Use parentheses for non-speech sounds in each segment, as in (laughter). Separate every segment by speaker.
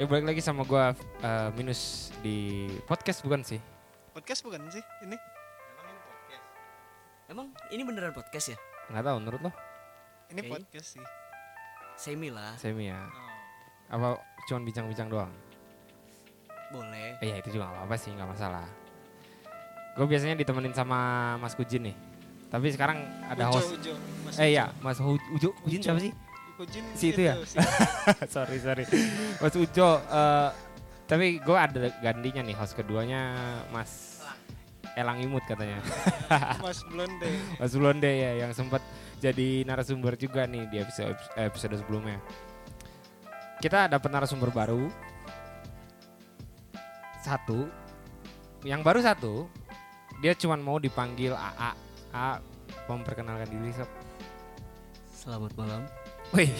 Speaker 1: Ya balik lagi sama gua eh, minus di podcast bukan sih?
Speaker 2: Podcast bukan sih ini?
Speaker 3: Emang ini beneran podcast ya?
Speaker 1: Nggak tahu menurut lo?
Speaker 2: Ini
Speaker 3: Oke.
Speaker 2: podcast sih.
Speaker 3: Semi lah,
Speaker 1: Semi ya.
Speaker 2: Oh.
Speaker 1: Apa cuman bincang-bincang doang?
Speaker 3: boleh.
Speaker 1: Eh, ya itu juga nggak apa-apa sih, nggak masalah. Gue biasanya ditemenin sama Mas Kujin nih. Tapi sekarang ada
Speaker 2: Ujo,
Speaker 1: host.
Speaker 2: Ujo, Mas
Speaker 1: Eh ya, Mas Hu- Ujo, Kujin siapa sih?
Speaker 2: Ujin gitu
Speaker 1: Si itu ya?
Speaker 2: si-
Speaker 1: (laughs) sorry sorry Mas Ujo eh, tapi gue ada gantinya nih host keduanya Mas Elang Imut katanya
Speaker 2: Mas Blonde.
Speaker 1: Mas Blonde ya yang sempat jadi narasumber juga nih di episode episode sebelumnya kita dapat narasumber baru satu yang baru satu dia cuman mau dipanggil AA A memperkenalkan diri sob
Speaker 3: Selamat malam.
Speaker 1: Wih,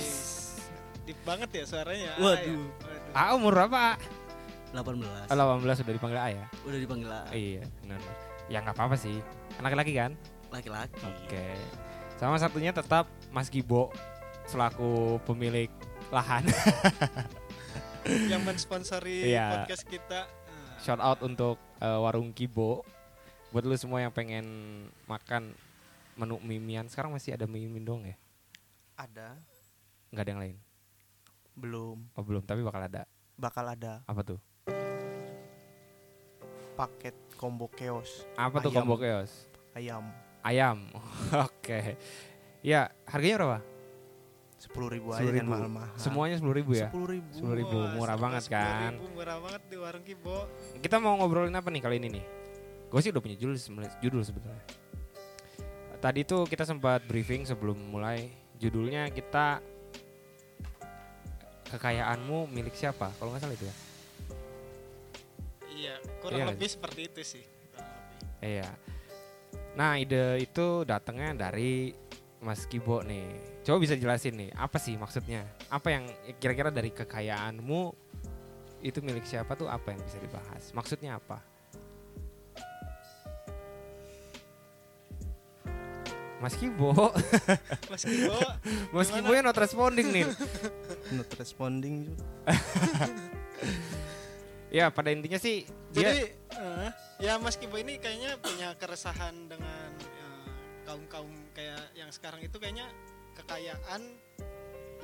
Speaker 2: Deep banget ya suaranya. Ah,
Speaker 3: Waduh.
Speaker 2: ya. Waduh.
Speaker 1: A umur berapa?
Speaker 3: 18.
Speaker 1: A? 18 sudah dipanggil A ya?
Speaker 3: Udah dipanggil lah
Speaker 1: Iya, benar. Ya nggak apa-apa sih. Anak laki kan?
Speaker 3: laki-laki.
Speaker 1: Oke. Sama satunya tetap Mas Gibo selaku pemilik lahan.
Speaker 2: Yang mensponsori
Speaker 1: Iya.
Speaker 2: podcast kita. Ah,
Speaker 1: Shout out untuk eh, warung Gibo. Buat lu semua yang pengen makan menu mimian, sekarang masih ada mie mimin dong ya?
Speaker 4: Ada,
Speaker 1: Nggak ada yang lain.
Speaker 4: belum,
Speaker 1: Oh, belum, tapi bakal ada.
Speaker 4: bakal ada
Speaker 1: Apa tuh?
Speaker 4: paket combo keos
Speaker 1: Apa tuh
Speaker 4: Ayam.
Speaker 1: combo keos?
Speaker 4: ayam
Speaker 1: Ayam. (laughs) Oke. Ya, harganya berapa?
Speaker 4: sepuluh ribu aja
Speaker 1: 10.000.
Speaker 4: kan mahal-mahal.
Speaker 1: Semuanya 10.000 ya?
Speaker 4: sepuluh ribu.
Speaker 1: 10.000,
Speaker 2: wah,
Speaker 1: murah banget kan?
Speaker 2: 10.000, murah banget di warung Kibo.
Speaker 1: kita mau ngobrolin apa nih kali ini nih? Gue sih udah punya judul sebenarnya- judul sebetulnya. Tadi tuh kita sempat briefing sebelum mulai judulnya kita kekayaanmu milik siapa? Kalau nggak salah itu ya.
Speaker 2: Iya, kurang
Speaker 1: Iya.
Speaker 2: lebih seperti itu sih. Kurang lebih.
Speaker 1: Iya. Nah ide itu datangnya dari Mas Kibo nih. Coba bisa jelasin nih apa sih maksudnya? Apa yang kira-kira dari kekayaanmu itu milik siapa tuh apa yang bisa dibahas? Maksudnya apa? Mas Kibo, (laughs)
Speaker 2: Mas Kibo,
Speaker 1: Mas
Speaker 2: Gimana?
Speaker 1: Kibo yang not responding nih.
Speaker 4: Not responding juga.
Speaker 1: ya pada intinya sih dia
Speaker 2: jadi eh, ya Mas Kibo ini kayaknya punya keresahan dengan eh, kaum-kaum kayak yang sekarang itu kayaknya kekayaan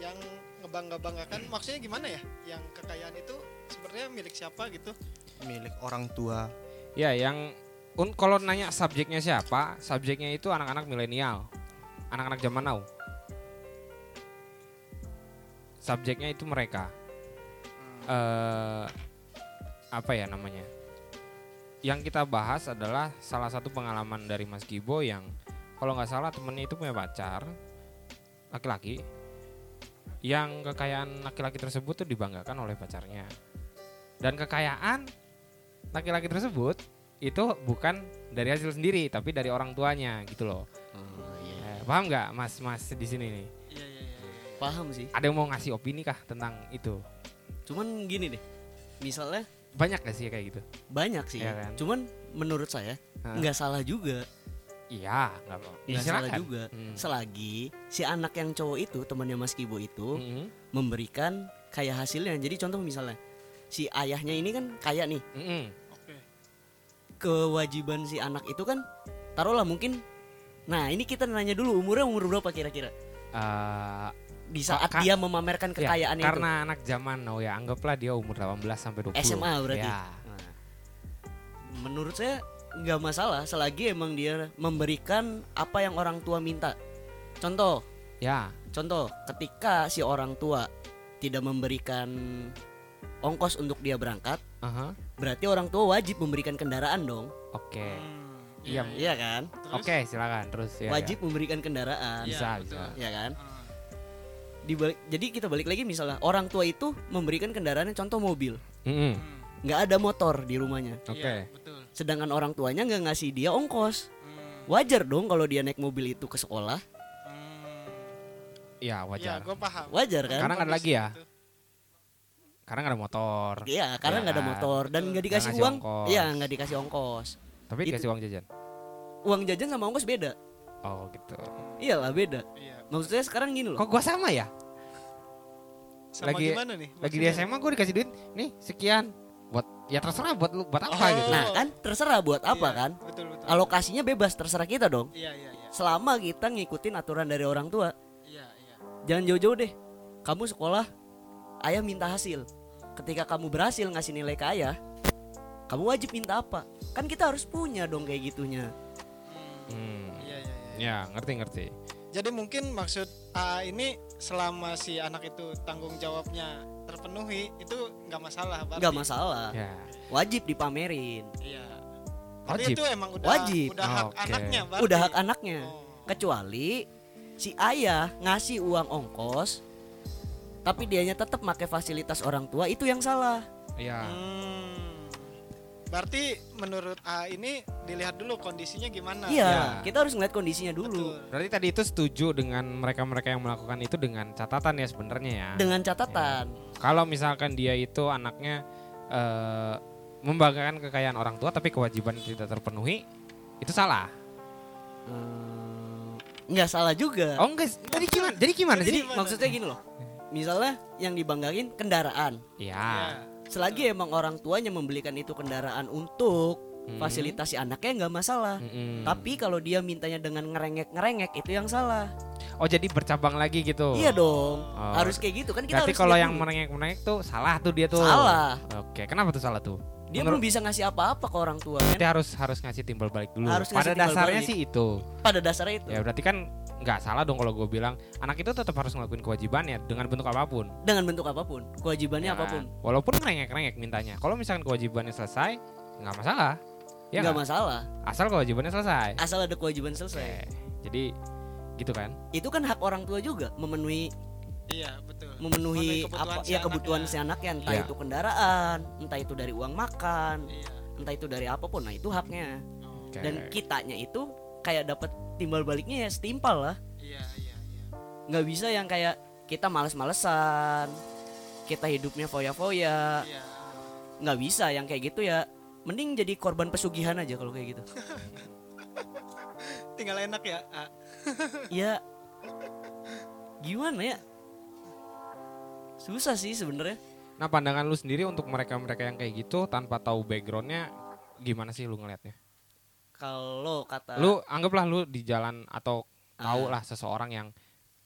Speaker 2: yang ngebangga-banggakan maksudnya gimana ya? Yang kekayaan itu sebenarnya milik siapa gitu?
Speaker 4: milik orang tua.
Speaker 1: Ya, yang un kalau nanya subjeknya siapa, subjeknya itu anak-anak milenial, anak-anak zaman now. Subjeknya itu mereka. eh apa ya namanya? Yang kita bahas adalah salah satu pengalaman dari Mas Gibo yang kalau nggak salah temennya itu punya pacar laki-laki yang kekayaan laki-laki tersebut tuh dibanggakan oleh pacarnya dan kekayaan laki-laki tersebut itu bukan dari hasil sendiri tapi dari orang tuanya gitu loh
Speaker 3: Oh, iya.
Speaker 1: Eh, paham nggak mas mas di sini nih
Speaker 2: Iya iya iya.
Speaker 3: Paham sih.
Speaker 1: ada yang mau ngasih opini kah tentang itu
Speaker 3: Cuman gini deh. Misalnya
Speaker 1: banyak gak sih kayak gitu
Speaker 3: banyak sih.
Speaker 1: Iya
Speaker 3: ya.
Speaker 1: kan?
Speaker 3: Cuman menurut saya
Speaker 1: Hah.
Speaker 3: nggak salah juga.
Speaker 1: iya nggak apa
Speaker 3: Nggak salah
Speaker 1: silakan.
Speaker 3: juga.
Speaker 1: Hmm.
Speaker 3: Selagi si anak yang cowok itu temannya Mas Kibo itu
Speaker 1: Mm-mm.
Speaker 3: memberikan kayak hasilnya. Jadi contoh misalnya si ayahnya ini kan kaya nih.
Speaker 1: Mm-mm.
Speaker 2: Oke.
Speaker 3: Kewajiban si anak itu kan taruhlah mungkin Nah, ini kita nanya dulu umurnya umur berapa kira-kira?
Speaker 1: Eh,
Speaker 3: Di saat
Speaker 1: Ka-
Speaker 3: dia memamerkan
Speaker 1: ya,
Speaker 3: kekayaannya itu.
Speaker 1: karena anak zaman now ya anggaplah dia umur 18 sampai 20
Speaker 3: SMA berarti?
Speaker 1: ya.
Speaker 3: Nah, menurut saya nggak masalah selagi emang dia memberikan apa yang orang tua minta. Contoh,
Speaker 1: ya
Speaker 3: contoh ketika si orang tua tidak memberikan ongkos untuk dia berangkat,
Speaker 1: aha.
Speaker 3: berarti orang tua wajib memberikan kendaraan dong.
Speaker 1: oke
Speaker 2: Hmm,
Speaker 1: Iya,
Speaker 3: Iya kan?
Speaker 2: Terus?
Speaker 1: oke silakan terus ya, ya.
Speaker 3: wajib memberikan kendaraan.
Speaker 2: Iya,
Speaker 1: bisa
Speaker 2: betul.
Speaker 1: bisa
Speaker 3: Ya kan?
Speaker 2: Ah,
Speaker 3: Dibalik- jadi kita balik lagi misalnya orang tua itu memberikan kendaraannya contoh mobil.
Speaker 1: Mm-mm.
Speaker 2: hmm,
Speaker 3: nggak ada motor di rumahnya.
Speaker 1: oke
Speaker 2: iya, betul.
Speaker 3: Sedangkan orang tuanya nggak ngasih dia ongkos.
Speaker 2: Hmm,
Speaker 3: Wajar dong kalau dia naik mobil itu ke sekolah.
Speaker 2: hmm.
Speaker 1: ya
Speaker 2: Iya,
Speaker 1: wajar
Speaker 2: gue paham. Iya.
Speaker 3: Wajar kan?
Speaker 1: Karena nggak ada lagi ya?
Speaker 2: Itu.
Speaker 1: karena nggak ada motor
Speaker 3: Iya, karena
Speaker 1: Iya
Speaker 3: nggak ada
Speaker 1: kan?
Speaker 3: motor dan nggak
Speaker 1: Nggak
Speaker 3: dikasih
Speaker 1: ngasih
Speaker 3: uang.
Speaker 1: ongkos.
Speaker 3: Iya, nggak dikasih ongkos.
Speaker 1: tapi
Speaker 3: Itu-
Speaker 1: dikasih uang jajan
Speaker 3: Uang jajan sama ongkos beda.
Speaker 1: oh gitu
Speaker 3: Iyalah beda.
Speaker 2: Iya.
Speaker 3: Maksud saya sekarang gini loh.
Speaker 1: kok gua sama ya
Speaker 2: Sama
Speaker 1: lagi
Speaker 2: gimana nih?
Speaker 1: lagi di SMA gue dikasih duit nih sekian buat ya terserah buat lu buat apa
Speaker 2: Oh.
Speaker 1: gitu
Speaker 3: Nah kan terserah buat apa
Speaker 1: Iya.
Speaker 3: kan?
Speaker 2: Iya, Betul betul.
Speaker 3: Alokasinya bebas terserah kita dong.
Speaker 2: Iya iya iya.
Speaker 3: Selama kita ngikutin aturan dari orang tua,
Speaker 2: Iya iya.
Speaker 3: jangan jauh-jauh deh. Kamu sekolah, ayah minta hasil. Ketika kamu berhasil ngasih nilai ke ayah, kamu wajib minta apa? Kan kita harus punya dong kayak gitunya.
Speaker 2: Hmm,
Speaker 1: Hmm,
Speaker 2: Iya iya iya.
Speaker 1: ya ngerti ngerti
Speaker 2: Jadi mungkin maksud A ini selama si anak itu tanggung jawabnya terpenuhi itu nggak masalah berarti.
Speaker 3: Gak masalah.
Speaker 1: ya
Speaker 3: Wajib dipamerin.
Speaker 2: Iya. Tapi
Speaker 1: Wajib.
Speaker 2: itu emang udah
Speaker 3: Wajib.
Speaker 2: udah hak
Speaker 1: Oke.
Speaker 2: anaknya berarti.
Speaker 3: Udah hak anaknya.
Speaker 2: Oh.
Speaker 3: Kecuali si ayah ngasih uang ongkos, tapi dianya tetap pakai fasilitas orang tua itu yang salah.
Speaker 1: ya
Speaker 2: Hmm. Berarti menurut A ini dilihat dulu kondisinya gimana.
Speaker 3: Iya,
Speaker 1: Ya.
Speaker 3: kita harus ngeliat kondisinya dulu.
Speaker 2: Betul.
Speaker 1: berarti tadi itu setuju dengan mereka-mereka yang melakukan itu dengan catatan ya sebenarnya ya
Speaker 3: Dengan catatan,
Speaker 1: kalau misalkan dia itu anaknya eh, membanggakan kekayaan orang tua tapi kewajiban tidak terpenuhi itu salah
Speaker 3: eh, nggak salah juga.
Speaker 1: oh enggak tadi gimana jadi gimana
Speaker 3: Iya. Jadi
Speaker 1: jadi
Speaker 2: gimana?
Speaker 3: maksudnya gini loh. Misalnya yang dibanggain kendaraan.
Speaker 2: Iya.
Speaker 1: ya
Speaker 3: Selagi emang orang tuanya membelikan itu kendaraan untuk
Speaker 1: Hmm.
Speaker 3: fasilitasi anaknya nggak masalah.
Speaker 1: Mm-mm.
Speaker 3: Tapi kalau dia mintanya dengan ngerengek-ngerengek itu yang salah.
Speaker 1: oh jadi bercabang lagi gitu
Speaker 3: Iya dong.
Speaker 1: Oh.
Speaker 3: Harus kayak gitu kan kita
Speaker 1: berarti
Speaker 3: harus
Speaker 1: kalau
Speaker 3: lihat
Speaker 1: yang
Speaker 3: dulu.
Speaker 1: merengek-merengek tuh salah tuh dia tuh
Speaker 3: Salah.
Speaker 1: oke kenapa tuh salah tuh
Speaker 3: dia
Speaker 1: Menurut-
Speaker 3: belum bisa ngasih apa-apa ke orang tua
Speaker 1: Berarti
Speaker 3: kan?
Speaker 1: harus harus ngasih timbal balik dulu.
Speaker 3: Harus
Speaker 1: Pada
Speaker 3: ngasih timbal
Speaker 1: dasarnya
Speaker 3: balik.
Speaker 1: sih itu.
Speaker 3: Pada dasarnya itu
Speaker 1: Ya berarti kan nggak salah dong kalau gue bilang anak itu tetap harus ngelakuin kewajibannya dengan bentuk apapun.
Speaker 3: dengan bentuk apapun,
Speaker 1: Ya
Speaker 3: kewajibannya
Speaker 1: kan?
Speaker 3: apapun,
Speaker 1: Walaupun rengek-rengek mintanya. Kalau misalkan kewajibannya selesai, nggak masalah. Ya nggak?
Speaker 3: nggak
Speaker 1: Ya.
Speaker 3: masalah.
Speaker 1: asal kewajibannya selesai.
Speaker 3: Asal ada kewajiban selesai.
Speaker 1: Oke. Jadi gitu kan.
Speaker 3: Itu kan hak orang tua juga memenuhi
Speaker 2: Iya, betul. Memenuhi
Speaker 3: memenuhi
Speaker 2: kebutuhan
Speaker 3: apa
Speaker 2: si
Speaker 3: ya kebutuhan
Speaker 2: anaknya.
Speaker 3: si anaknya entah
Speaker 1: Iya.
Speaker 3: itu kendaraan, entah itu dari uang makan,
Speaker 2: Iya.
Speaker 3: entah itu dari apapun. Nah, itu haknya.
Speaker 2: Oh,
Speaker 1: Oke.
Speaker 3: Dan kitanya itu kayak dapat timbal baliknya ya setimpal lah.
Speaker 2: Iya, iya, iya.
Speaker 3: Nggak bisa yang kayak kita males-malesan, kita hidupnya foya-foya.
Speaker 2: Iya.
Speaker 3: Nggak bisa yang kayak gitu ya. Mending jadi korban pesugihan aja kalau kayak gitu.
Speaker 2: Tinggal enak ya. A.
Speaker 3: ya gimana ya susah sih sebenarnya
Speaker 1: Nah pandangan lu sendiri untuk mereka-mereka yang kayak gitu tanpa tahu backgroundnya gimana sih lu ngelihatnya?
Speaker 3: kalau kata
Speaker 1: Lu anggaplah lu di jalan atau
Speaker 2: Ah.
Speaker 1: tahu lah seseorang yang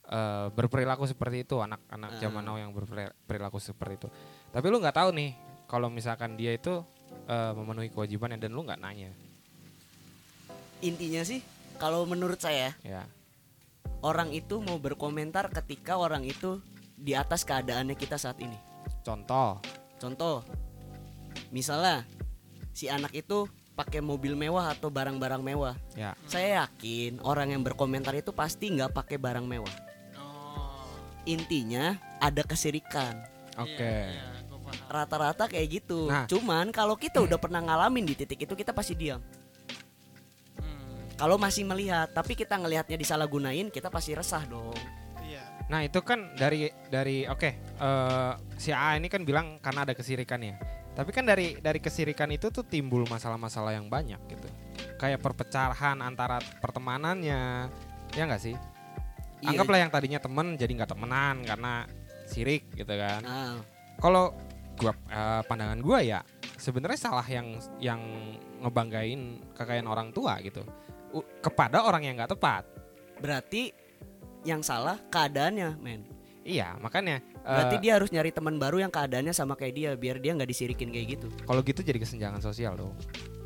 Speaker 1: eh, berperilaku seperti itu
Speaker 2: Ah.
Speaker 1: anak-anak zaman now yang berperilaku seperti itu tapi lu nggak tahu nih kalau misalkan dia itu eh, memenuhi kewajibannya dan lu nggak nanya
Speaker 3: intinya sih kalau menurut saya
Speaker 1: ya
Speaker 3: orang itu mau berkomentar ketika orang itu di atas keadaannya kita saat ini
Speaker 1: contoh
Speaker 3: contoh misalnya si anak itu pakai mobil mewah atau barang-barang mewah
Speaker 1: ya
Speaker 3: saya yakin orang yang berkomentar itu pasti nggak pakai barang mewah
Speaker 2: Oh.
Speaker 3: intinya ada kesirikan
Speaker 1: oke
Speaker 2: Iya, iya, gua paham.
Speaker 3: rata-rata kayak gitu.
Speaker 1: Nah.
Speaker 3: Cuman kalau kita udah pernah ngalamin di titik itu kita pasti diam.
Speaker 2: Hmm,
Speaker 3: Kalau masih melihat, tapi kita ngelihatnya disalahgunain, kita pasti resah dong.
Speaker 2: Iya.
Speaker 1: nah itu kan dari dari oke eh, si A ini kan bilang karena ada kesirikan ya tapi kan dari dari kesirikan itu tuh timbul masalah-masalah yang banyak gitu kayak perpecahan antara pertemanannya ya nggak sih
Speaker 3: Iya.
Speaker 1: anggaplah yang tadinya temen jadi nggak temenan karena sirik gitu kan
Speaker 3: Nah,
Speaker 1: kalau gua eh, pandangan gua ya sebenarnya salah yang yang ngebanggain kekayaan orang tua gitu U- kepada orang yang nggak tepat
Speaker 3: berarti yang salah keadaannya, men.
Speaker 1: iya makanya eh,
Speaker 3: Berarti dia harus nyari teman baru yang keadaannya sama kayak dia biar dia nggak disirikin kayak gitu.
Speaker 1: kalau gitu jadi kesenjangan sosial dong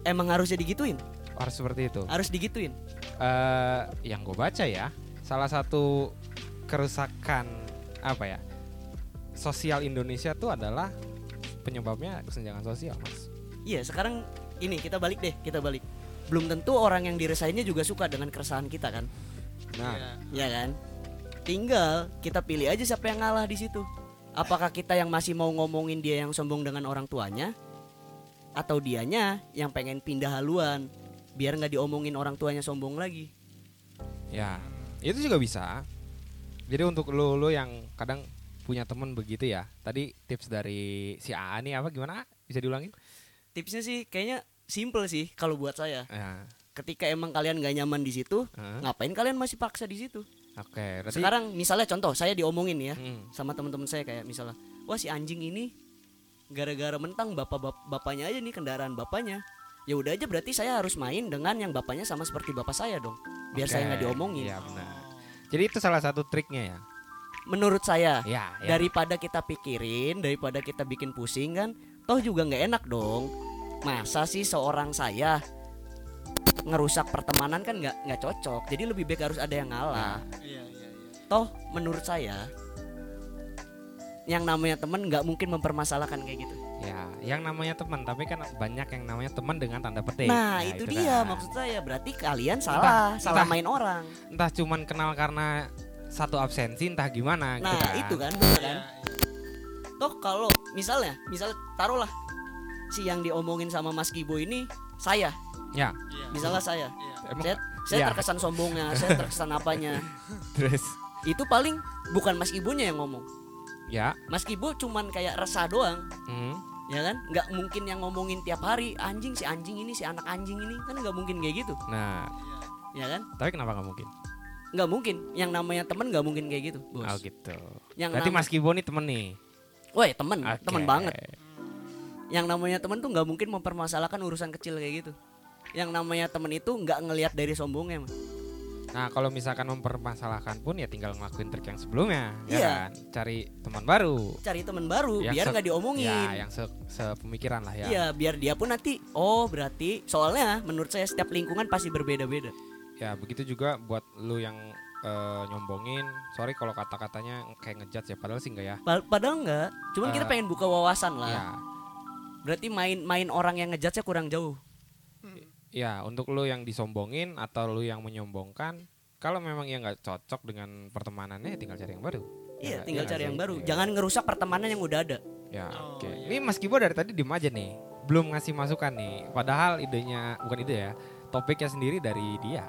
Speaker 3: Emang harusnya digituin,
Speaker 1: harus seperti itu
Speaker 3: harus digituin.
Speaker 1: eh yang gue baca ya salah satu kerusakan apa ya sosial Indonesia tuh adalah penyebabnya kesenjangan sosial mas
Speaker 3: Iya, sekarang ini kita balik deh, kita balik. Belum tentu orang yang diresainnya juga suka dengan keresahan kita kan,
Speaker 1: nah
Speaker 2: Iya.
Speaker 3: ya kan? Tinggal kita pilih aja siapa yang ngalah di situ. Apakah kita yang masih mau ngomongin dia yang sombong dengan orang tuanya, atau dianya yang pengen pindah haluan biar nggak diomongin orang tuanya sombong lagi?
Speaker 1: Ya, itu juga bisa. Jadi untuk lu lu yang kadang punya temen begitu ya. Tadi tips dari si AA nih apa gimana? A? Bisa diulangin?
Speaker 3: Tipsnya sih kayaknya simple sih kalau buat saya.
Speaker 1: Ya.
Speaker 3: Ketika emang kalian nggak nyaman di situ,
Speaker 1: Heeh.
Speaker 3: ngapain kalian masih paksa di situ?
Speaker 1: Oke, berarti
Speaker 3: Nah, Sekarang misalnya contoh saya diomongin nih ya
Speaker 1: Hmm,
Speaker 3: sama teman-teman saya kayak misalnya, wah si anjing ini gara-gara mentang bapak bapaknya aja nih kendaraan bapaknya. Ya udah aja berarti saya harus main dengan yang bapaknya sama seperti bapak saya dong. Biar
Speaker 1: oke.
Speaker 3: saya nggak diomongin.
Speaker 1: Iya, benar. Jadi itu salah satu triknya ya.
Speaker 3: Menurut saya
Speaker 1: Ya, ya.
Speaker 3: daripada kita pikirin, daripada kita bikin pusing kan, toh juga nggak enak dong. Masa sih seorang saya ngerusak pertemanan kan nggak nggak cocok. Jadi lebih baik harus ada yang ngalah.
Speaker 2: Iya, iya, iya.
Speaker 3: Toh menurut saya yang namanya temen nggak mungkin mempermasalahkan kayak gitu.
Speaker 1: ya, yang namanya teman, tapi kan banyak yang namanya teman dengan tanda petik.
Speaker 3: Nah, itu, dia
Speaker 1: kan.
Speaker 3: maksud saya. Berarti kalian salah,
Speaker 1: entah.
Speaker 3: salah main orang.
Speaker 1: Entah cuman kenal karena satu absensi entah gimana
Speaker 3: Nah,
Speaker 1: gitu kan.
Speaker 3: itu kan bener kan?
Speaker 2: Iya,
Speaker 3: Toh kalau misalnya, misal taruhlah si yang diomongin sama Mas Kibo ini saya,
Speaker 1: Ya,
Speaker 2: iya.
Speaker 3: misalnya saya.
Speaker 2: Iya.
Speaker 1: emang
Speaker 3: Saya, saya
Speaker 1: Ya.
Speaker 3: terkesan sombongnya, saya terkesan apanya.
Speaker 1: terus
Speaker 3: Itu paling bukan Mas Ibunya yang ngomong.
Speaker 1: ya.
Speaker 3: Mas Ibu cuman kayak resah doang,
Speaker 1: hmm,
Speaker 3: ya kan? Nggak mungkin yang ngomongin tiap hari anjing si anjing ini si anak anjing ini kan nggak mungkin kayak gitu,
Speaker 1: Nah,
Speaker 2: Iya.
Speaker 3: ya kan?
Speaker 1: tapi kenapa nggak mungkin?
Speaker 3: Nggak mungkin. Yang namanya temen nggak mungkin kayak gitu, bos.
Speaker 1: Oh gitu.
Speaker 3: Yang
Speaker 1: Berarti
Speaker 3: nama-
Speaker 1: Mas Kibo nih temen nih.
Speaker 3: Woi temen, temen
Speaker 1: Oke.
Speaker 3: banget. Yang namanya temen tuh nggak mungkin mempermasalahkan urusan kecil kayak gitu. Yang namanya temen itu nggak ngelihat dari sombongnya, Mas.
Speaker 1: Nah, kalau misalkan mempermasalahkan pun ya tinggal ngelakuin trik yang sebelumnya, ya
Speaker 3: Iya.
Speaker 1: kan? Cari teman baru.
Speaker 3: Cari temen baru
Speaker 1: Yang
Speaker 3: biar
Speaker 1: se-
Speaker 3: nggak diomongin.
Speaker 1: Ya, yang se sepemikiran lah ya.
Speaker 3: Iya, biar dia pun nanti oh berarti soalnya menurut saya setiap lingkungan pasti berbeda-beda.
Speaker 1: Ya, begitu juga buat lu yang eh, nyombongin. Sorry kalau kata-katanya kayak ngejat ya, padahal sih enggak ya.
Speaker 3: Pa- Padahal enggak, cuman kita
Speaker 1: Eh,
Speaker 3: pengen buka wawasan
Speaker 1: Ya,
Speaker 3: lah. Berarti main-main orang yang ngejudge kurang jauh.
Speaker 1: ya untuk lu yang disombongin atau lu yang menyombongkan, kalau memang ya nggak cocok dengan pertemanannya ya tinggal cari yang baru.
Speaker 3: Iya,
Speaker 1: Ya,
Speaker 3: tinggal
Speaker 1: iya
Speaker 3: cari
Speaker 1: nggak
Speaker 3: yang
Speaker 1: sih?
Speaker 3: baru.
Speaker 1: Iya.
Speaker 3: Jangan ngerusak pertemanan yang udah ada.
Speaker 1: Ya,
Speaker 2: Oh,
Speaker 1: oke.
Speaker 2: iya.
Speaker 1: Ini Mas Kibo dari tadi diem aja nih. Belum ngasih masukan nih. Padahal idenya bukan ide ya. Topiknya sendiri dari dia.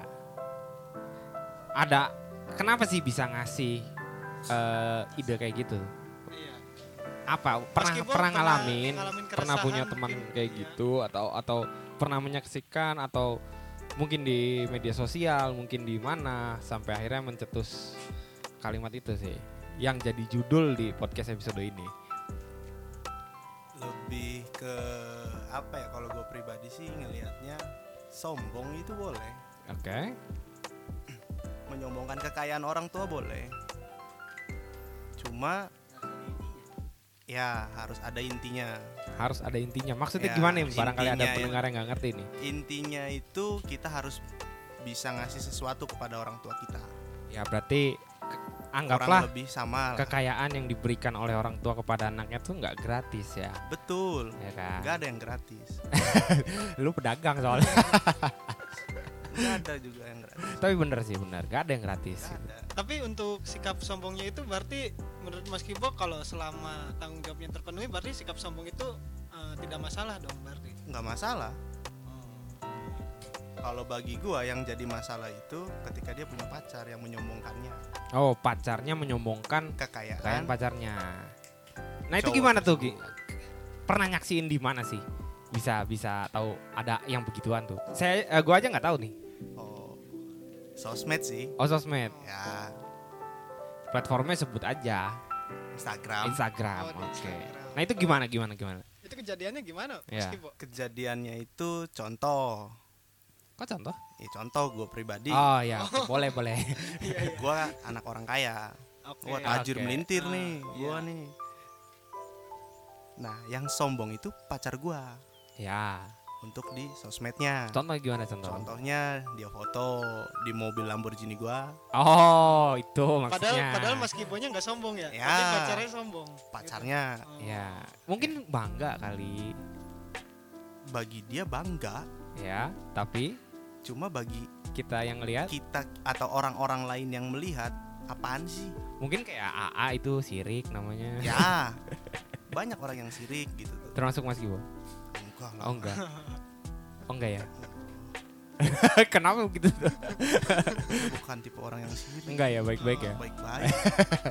Speaker 1: Ada kenapa sih bisa ngasih eh, ide kayak gitu?
Speaker 2: Iya.
Speaker 1: Apa pernah
Speaker 2: Kibo
Speaker 1: pernah
Speaker 2: pernah
Speaker 1: ngalamin,
Speaker 2: ngalamin
Speaker 1: pernah punya
Speaker 2: keresahan
Speaker 1: teman
Speaker 2: mungkin,
Speaker 1: kayak
Speaker 2: iya.
Speaker 1: gitu atau atau pernah menyaksikan atau mungkin di media sosial, mungkin di mana sampai akhirnya mencetus kalimat itu sih yang jadi judul di podcast episode ini.
Speaker 4: lebih ke apa ya kalau gue pribadi sih ngelihatnya sombong itu boleh
Speaker 1: Oke.
Speaker 4: menyombongkan kekayaan orang tua boleh cuma ya harus ada intinya
Speaker 1: harus ada intinya. Maksudnya
Speaker 4: Ya,
Speaker 1: gimana nih? Barangkali ada
Speaker 4: intinya ya.
Speaker 1: pendengar yang nggak ngerti nih.
Speaker 4: intinya itu kita harus bisa ngasih sesuatu kepada orang tua kita
Speaker 1: Ya berarti ke-
Speaker 4: kurang
Speaker 1: anggaplah
Speaker 4: lebih sama lah.
Speaker 1: kekayaan yang diberikan oleh orang tua kepada anaknya tuh nggak gratis ya,
Speaker 4: betul
Speaker 1: ya kan?
Speaker 4: nggak ada yang gratis
Speaker 1: Lu pedagang soalnya. (laughs)
Speaker 4: nggak ada juga yang gratis
Speaker 1: Tapi bener sih bener, nggak ada yang gratis.
Speaker 4: nggak ada
Speaker 2: Tapi untuk sikap sombongnya itu berarti menurut Mas Kibo kalau selama tanggung jawabnya terpenuhi berarti sikap sombong itu eh, tidak masalah dong berarti.
Speaker 4: nggak masalah
Speaker 2: Oh.
Speaker 4: kalau bagi gua yang jadi masalah itu ketika dia punya pacar yang menyombongkannya
Speaker 1: Oh pacarnya menyombongkan kekayaan
Speaker 4: kekayaan
Speaker 1: pacarnya. Nah itu
Speaker 4: Kan? Cowok kan
Speaker 1: gimana tuh? Gi? Pernah nyaksiin di mana sih? Bisa bisa tahu ada yang begituan tuh. Saya eh, gua aja nggak tahu nih.
Speaker 4: oh sosmed sih
Speaker 1: Oh sosmed,
Speaker 4: ya
Speaker 1: platformnya sebut aja
Speaker 4: Instagram
Speaker 1: Instagram.
Speaker 2: Oh, di
Speaker 1: Oke.
Speaker 2: Instagram.
Speaker 1: Nah itu gimana gimana gimana?
Speaker 2: Itu kejadiannya gimana Mas
Speaker 1: Iya.
Speaker 2: Kibo?
Speaker 4: kejadiannya itu contoh
Speaker 1: Kok contoh?
Speaker 4: ya contoh gue pribadi
Speaker 1: Oh ya, (laughs) boleh boleh.
Speaker 4: gua anak orang kaya
Speaker 2: Iya, Oke.
Speaker 4: gua tajir
Speaker 1: Oke. Hmm,
Speaker 4: melintir
Speaker 2: Ah,
Speaker 4: nih gua
Speaker 2: iya.
Speaker 4: nih nah yang sombong itu pacar gua
Speaker 1: ya,
Speaker 4: untuk di sosmednya
Speaker 1: contoh gimana contoh?
Speaker 4: contohnya dia foto di mobil Lamborghini gua
Speaker 1: Oh, itu
Speaker 2: Padahal
Speaker 1: maksudnya.
Speaker 2: padahal Mas Kibonya nggak sombong ya,
Speaker 4: Ya.
Speaker 2: tapi pacarnya sombong.
Speaker 4: pacarnya
Speaker 2: Gitu. Oh.
Speaker 1: Ya, mungkin bangga kali.
Speaker 4: bagi dia bangga
Speaker 1: Ya, tapi
Speaker 4: cuma bagi
Speaker 1: kita yang lihat
Speaker 4: kita atau orang-orang lain yang melihat apaan
Speaker 1: (laughs)
Speaker 4: sih
Speaker 1: mungkin kayak AA itu sirik namanya.
Speaker 4: ya banyak orang yang sirik gitu tuh
Speaker 1: Termasuk Mas Gibo.
Speaker 4: enggak lah
Speaker 1: Oh enggak. (laughs) Oh enggak ya. (laughs) Kenapa begitu?
Speaker 4: bukan tipe orang yang sirik
Speaker 1: Enggak ya, baik-baik ya. (laughs)
Speaker 4: baik-baik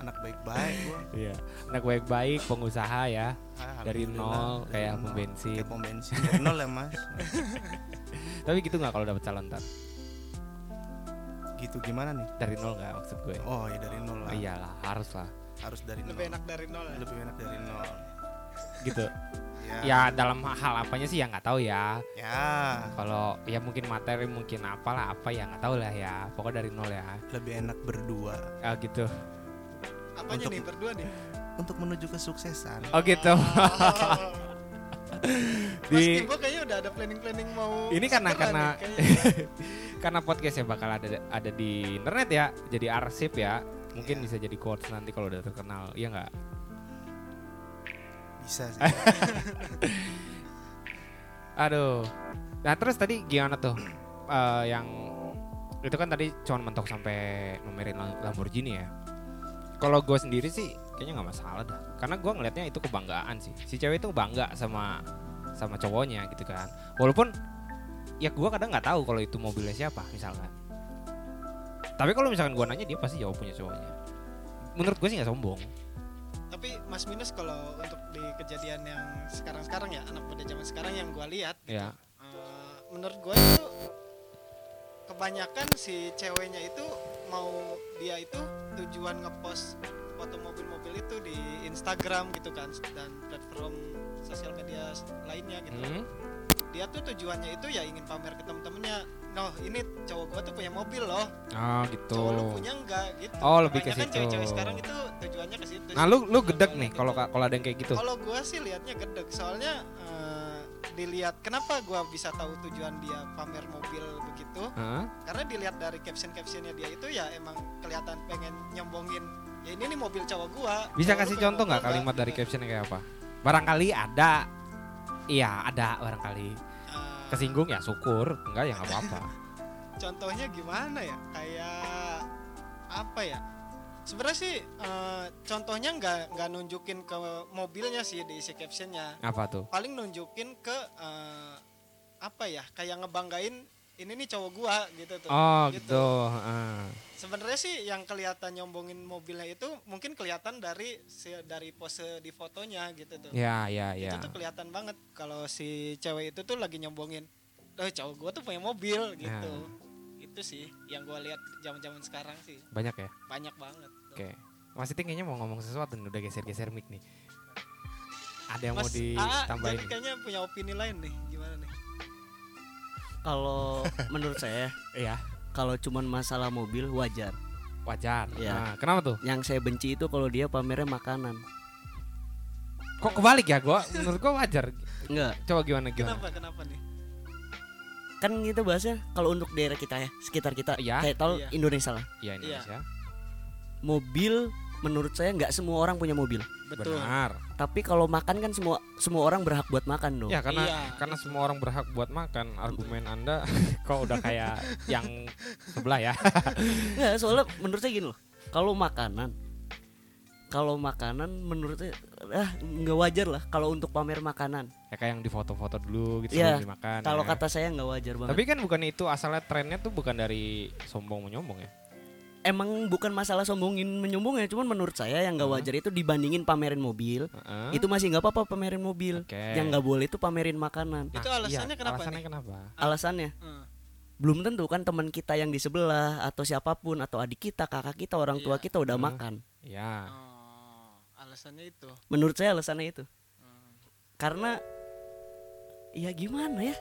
Speaker 4: anak baik-baik gua
Speaker 1: Iya. Anak baik-baik, pengusaha ya.
Speaker 4: Ah,
Speaker 1: Dari
Speaker 4: alhamdulillah,
Speaker 1: nol,
Speaker 4: dari
Speaker 1: kayak
Speaker 4: nol.
Speaker 1: pom bensin.
Speaker 4: kayak pom bensin dari nol ya mas
Speaker 1: Tapi gitu nggak kalau dapat calon tar?
Speaker 4: gitu gimana nih?
Speaker 1: dari nol nggak maksud gue
Speaker 4: Oh ya dari nol lah.
Speaker 1: iyalah harus lah
Speaker 4: Harus dari nol.
Speaker 2: lebih enak dari nol ya.
Speaker 4: Lebih enak dari nol.
Speaker 1: gitu
Speaker 4: Ya.
Speaker 1: ya dalam hal apanya sih ya nggak tahu ya
Speaker 4: Ya.
Speaker 1: kalau ya mungkin materi mungkin apalah apa ya nggak tahu lah ya pokoknya dari nol ya
Speaker 4: Lebih enak berdua
Speaker 1: Ah, gitu
Speaker 2: Apanya
Speaker 4: Untuk-
Speaker 2: nih berdua nih?
Speaker 4: untuk menuju kesuksesan.
Speaker 1: oh gitu (laughs)
Speaker 2: Mas
Speaker 1: di
Speaker 2: Kimbo kayaknya udah ada planning-planning mau
Speaker 1: Ini karena-
Speaker 2: segera nih,
Speaker 1: karena-
Speaker 2: kayaknya.
Speaker 1: karena podcastnya bakal ada ada di internet ya jadi arsip ya mungkin
Speaker 4: Iya.
Speaker 1: bisa jadi quotes nanti kalau udah terkenal ya nggak
Speaker 4: Bisa
Speaker 1: (laughs)
Speaker 4: sih.
Speaker 1: aduh nah terus tadi gimana tuh (clears throat) Eh, yang itu kan tadi cuman mentok sampai numerin Lam- Lamborghini ya kalau gue sendiri sih kayaknya nggak masalah dah karena gue ngelihatnya itu kebanggaan sih si cewek itu bangga sama sama cowoknya gitu kan walaupun ya gue kadang nggak tahu kalau itu mobilnya siapa misalkan tapi kalau misalkan gue nanya dia pasti jawab punya cowoknya menurut gue sih nggak sombong
Speaker 2: Tapi Mas Minus kalau untuk di kejadian yang sekarang-sekarang ya anak muda zaman sekarang yang gua lihat
Speaker 1: ya
Speaker 2: Eh, menurut gue itu kebanyakan si ceweknya itu mau dia itu tujuan ngepost foto mobil-mobil itu di Instagram gitu kan dan platform sosial media lainnya gitu.
Speaker 1: Hmm,
Speaker 2: Dia tuh tujuannya itu ya ingin pamer ke temen-temennya. Noh ini cowok gue tuh punya mobil loh.
Speaker 1: ah gitu
Speaker 2: Cowok lu punya enggak gitu.
Speaker 1: Oh, lebih ke
Speaker 2: Kebanyakan
Speaker 1: situ.
Speaker 2: cewek-cewek sekarang itu tujuannya ke situ.
Speaker 1: nah lu lu
Speaker 2: Kalau
Speaker 1: gedek
Speaker 2: gua
Speaker 1: nih
Speaker 2: lihat
Speaker 1: kalau
Speaker 2: itu.
Speaker 1: kalau ada yang kayak gitu
Speaker 2: Kalau gua sih liatnya gedek, soalnya eh, dilihat kenapa gua bisa tahu tujuan dia pamer mobil begitu?
Speaker 1: Hah?
Speaker 2: Karena dilihat dari caption-captionnya dia itu ya emang kelihatan pengen nyombongin. Ya ini nih mobil cowok gua.
Speaker 1: Bisa
Speaker 2: Cowok lu
Speaker 1: kasih
Speaker 2: punya
Speaker 1: contoh nggak
Speaker 2: mobil
Speaker 1: kalimat dari
Speaker 2: gitu.
Speaker 1: captionnya kayak apa? Barangkali ada, iya ada barangkali
Speaker 2: Eh,
Speaker 1: kesinggung ya syukur, enggak ya nggak apa-apa.
Speaker 2: Contohnya gimana ya? Kayak apa ya? Sebenarnya sih eh, contohnya nggak nggak nunjukin ke mobilnya sih diisi captionnya.
Speaker 1: apa tuh?
Speaker 2: paling nunjukin ke eh, apa ya kayak ngebanggain ini nih cowok gua gitu tuh
Speaker 1: Oh
Speaker 2: Gitu.
Speaker 1: gitu. heeh.
Speaker 2: sebenarnya sih yang kelihatan nyombongin mobilnya itu mungkin kelihatan dari si- dari pose di fotonya gitu tuh
Speaker 1: Ya ya ya.
Speaker 2: itu tuh kelihatan banget kalau si cewek itu tuh lagi nyombongin oh cowok gua tuh punya
Speaker 1: Iya.
Speaker 2: mobil gitu itu sih yang gua lihat zaman-zaman sekarang sih
Speaker 1: Banyak ya.
Speaker 2: banyak banget tuh.
Speaker 1: Oke. Mas Iti kayaknya mau ngomong sesuatu nih, udah geser-geser mic nih. Ada yang
Speaker 2: Mas
Speaker 1: mau
Speaker 2: AA,
Speaker 1: ditambahin?
Speaker 2: jadi kayaknya punya opini lain nih gimana nih
Speaker 1: (laughs)
Speaker 3: Kalau menurut saya
Speaker 1: Iya,
Speaker 3: kalau cuman masalah mobil wajar.
Speaker 1: wajar.
Speaker 3: Iya.
Speaker 1: Nah, kenapa tuh?
Speaker 3: Yang saya benci itu kalau dia pamernya makanan.
Speaker 1: Kok kebalik ya gua? Menurut gua wajar.
Speaker 3: Enggak,
Speaker 1: Coba gimana gimana?
Speaker 2: kenapa kenapa nih
Speaker 3: kan gitu bahasnya kalau untuk daerah kita ya, sekitar kita
Speaker 1: Iya.
Speaker 3: kayak tol
Speaker 2: Iya.
Speaker 3: Indonesia lah.
Speaker 1: Iya Indonesia.
Speaker 3: Mobil menurut saya nggak semua orang punya mobil.
Speaker 2: betul
Speaker 1: Benar.
Speaker 3: Tapi kalau makan kan semua semua orang berhak buat makan dong.
Speaker 1: Ya karena
Speaker 2: Iya,
Speaker 1: karena semua orang berhak buat makan. Argumen Anda (laughs) kok udah kayak yang sebelah ya.
Speaker 3: Nggak, soalnya menurut saya gini loh. Kalau makanan kalau makanan menurut saya ah nggak wajar lah kalau untuk pamer makanan.
Speaker 1: ya kayak yang di foto-foto dulu gitu
Speaker 3: Iya,
Speaker 1: sebelum dimakan.
Speaker 3: Kalau
Speaker 1: ya.
Speaker 3: kata saya nggak wajar banget.
Speaker 1: Tapi kan bukan itu asalnya trennya tuh bukan dari sombong menyombong ya.
Speaker 3: Emang bukan masalah sombongin menyombong ya, cuman menurut saya yang nggak
Speaker 1: Hmm.
Speaker 3: wajar itu dibandingin pamerin mobil.
Speaker 1: Heeh.
Speaker 3: Itu masih nggak apa-apa pamerin mobil.
Speaker 1: Oke.
Speaker 3: Yang nggak boleh itu pamerin makanan.
Speaker 1: Nah,
Speaker 2: Itu
Speaker 1: iya,
Speaker 2: alasannya kenapa
Speaker 1: Alasannya
Speaker 2: nih?
Speaker 1: kenapa?
Speaker 3: Alasannya
Speaker 2: Hmm.
Speaker 3: belum tentu kan teman kita yang di sebelah atau siapapun atau adik kita, kakak kita, orang
Speaker 2: Iya.
Speaker 3: tua kita udah
Speaker 1: Hmm.
Speaker 3: makan.
Speaker 1: Ya.
Speaker 2: Oh, alasannya itu.
Speaker 3: Menurut saya alasannya itu.
Speaker 1: Hmm.
Speaker 3: Karena ya gimana ya?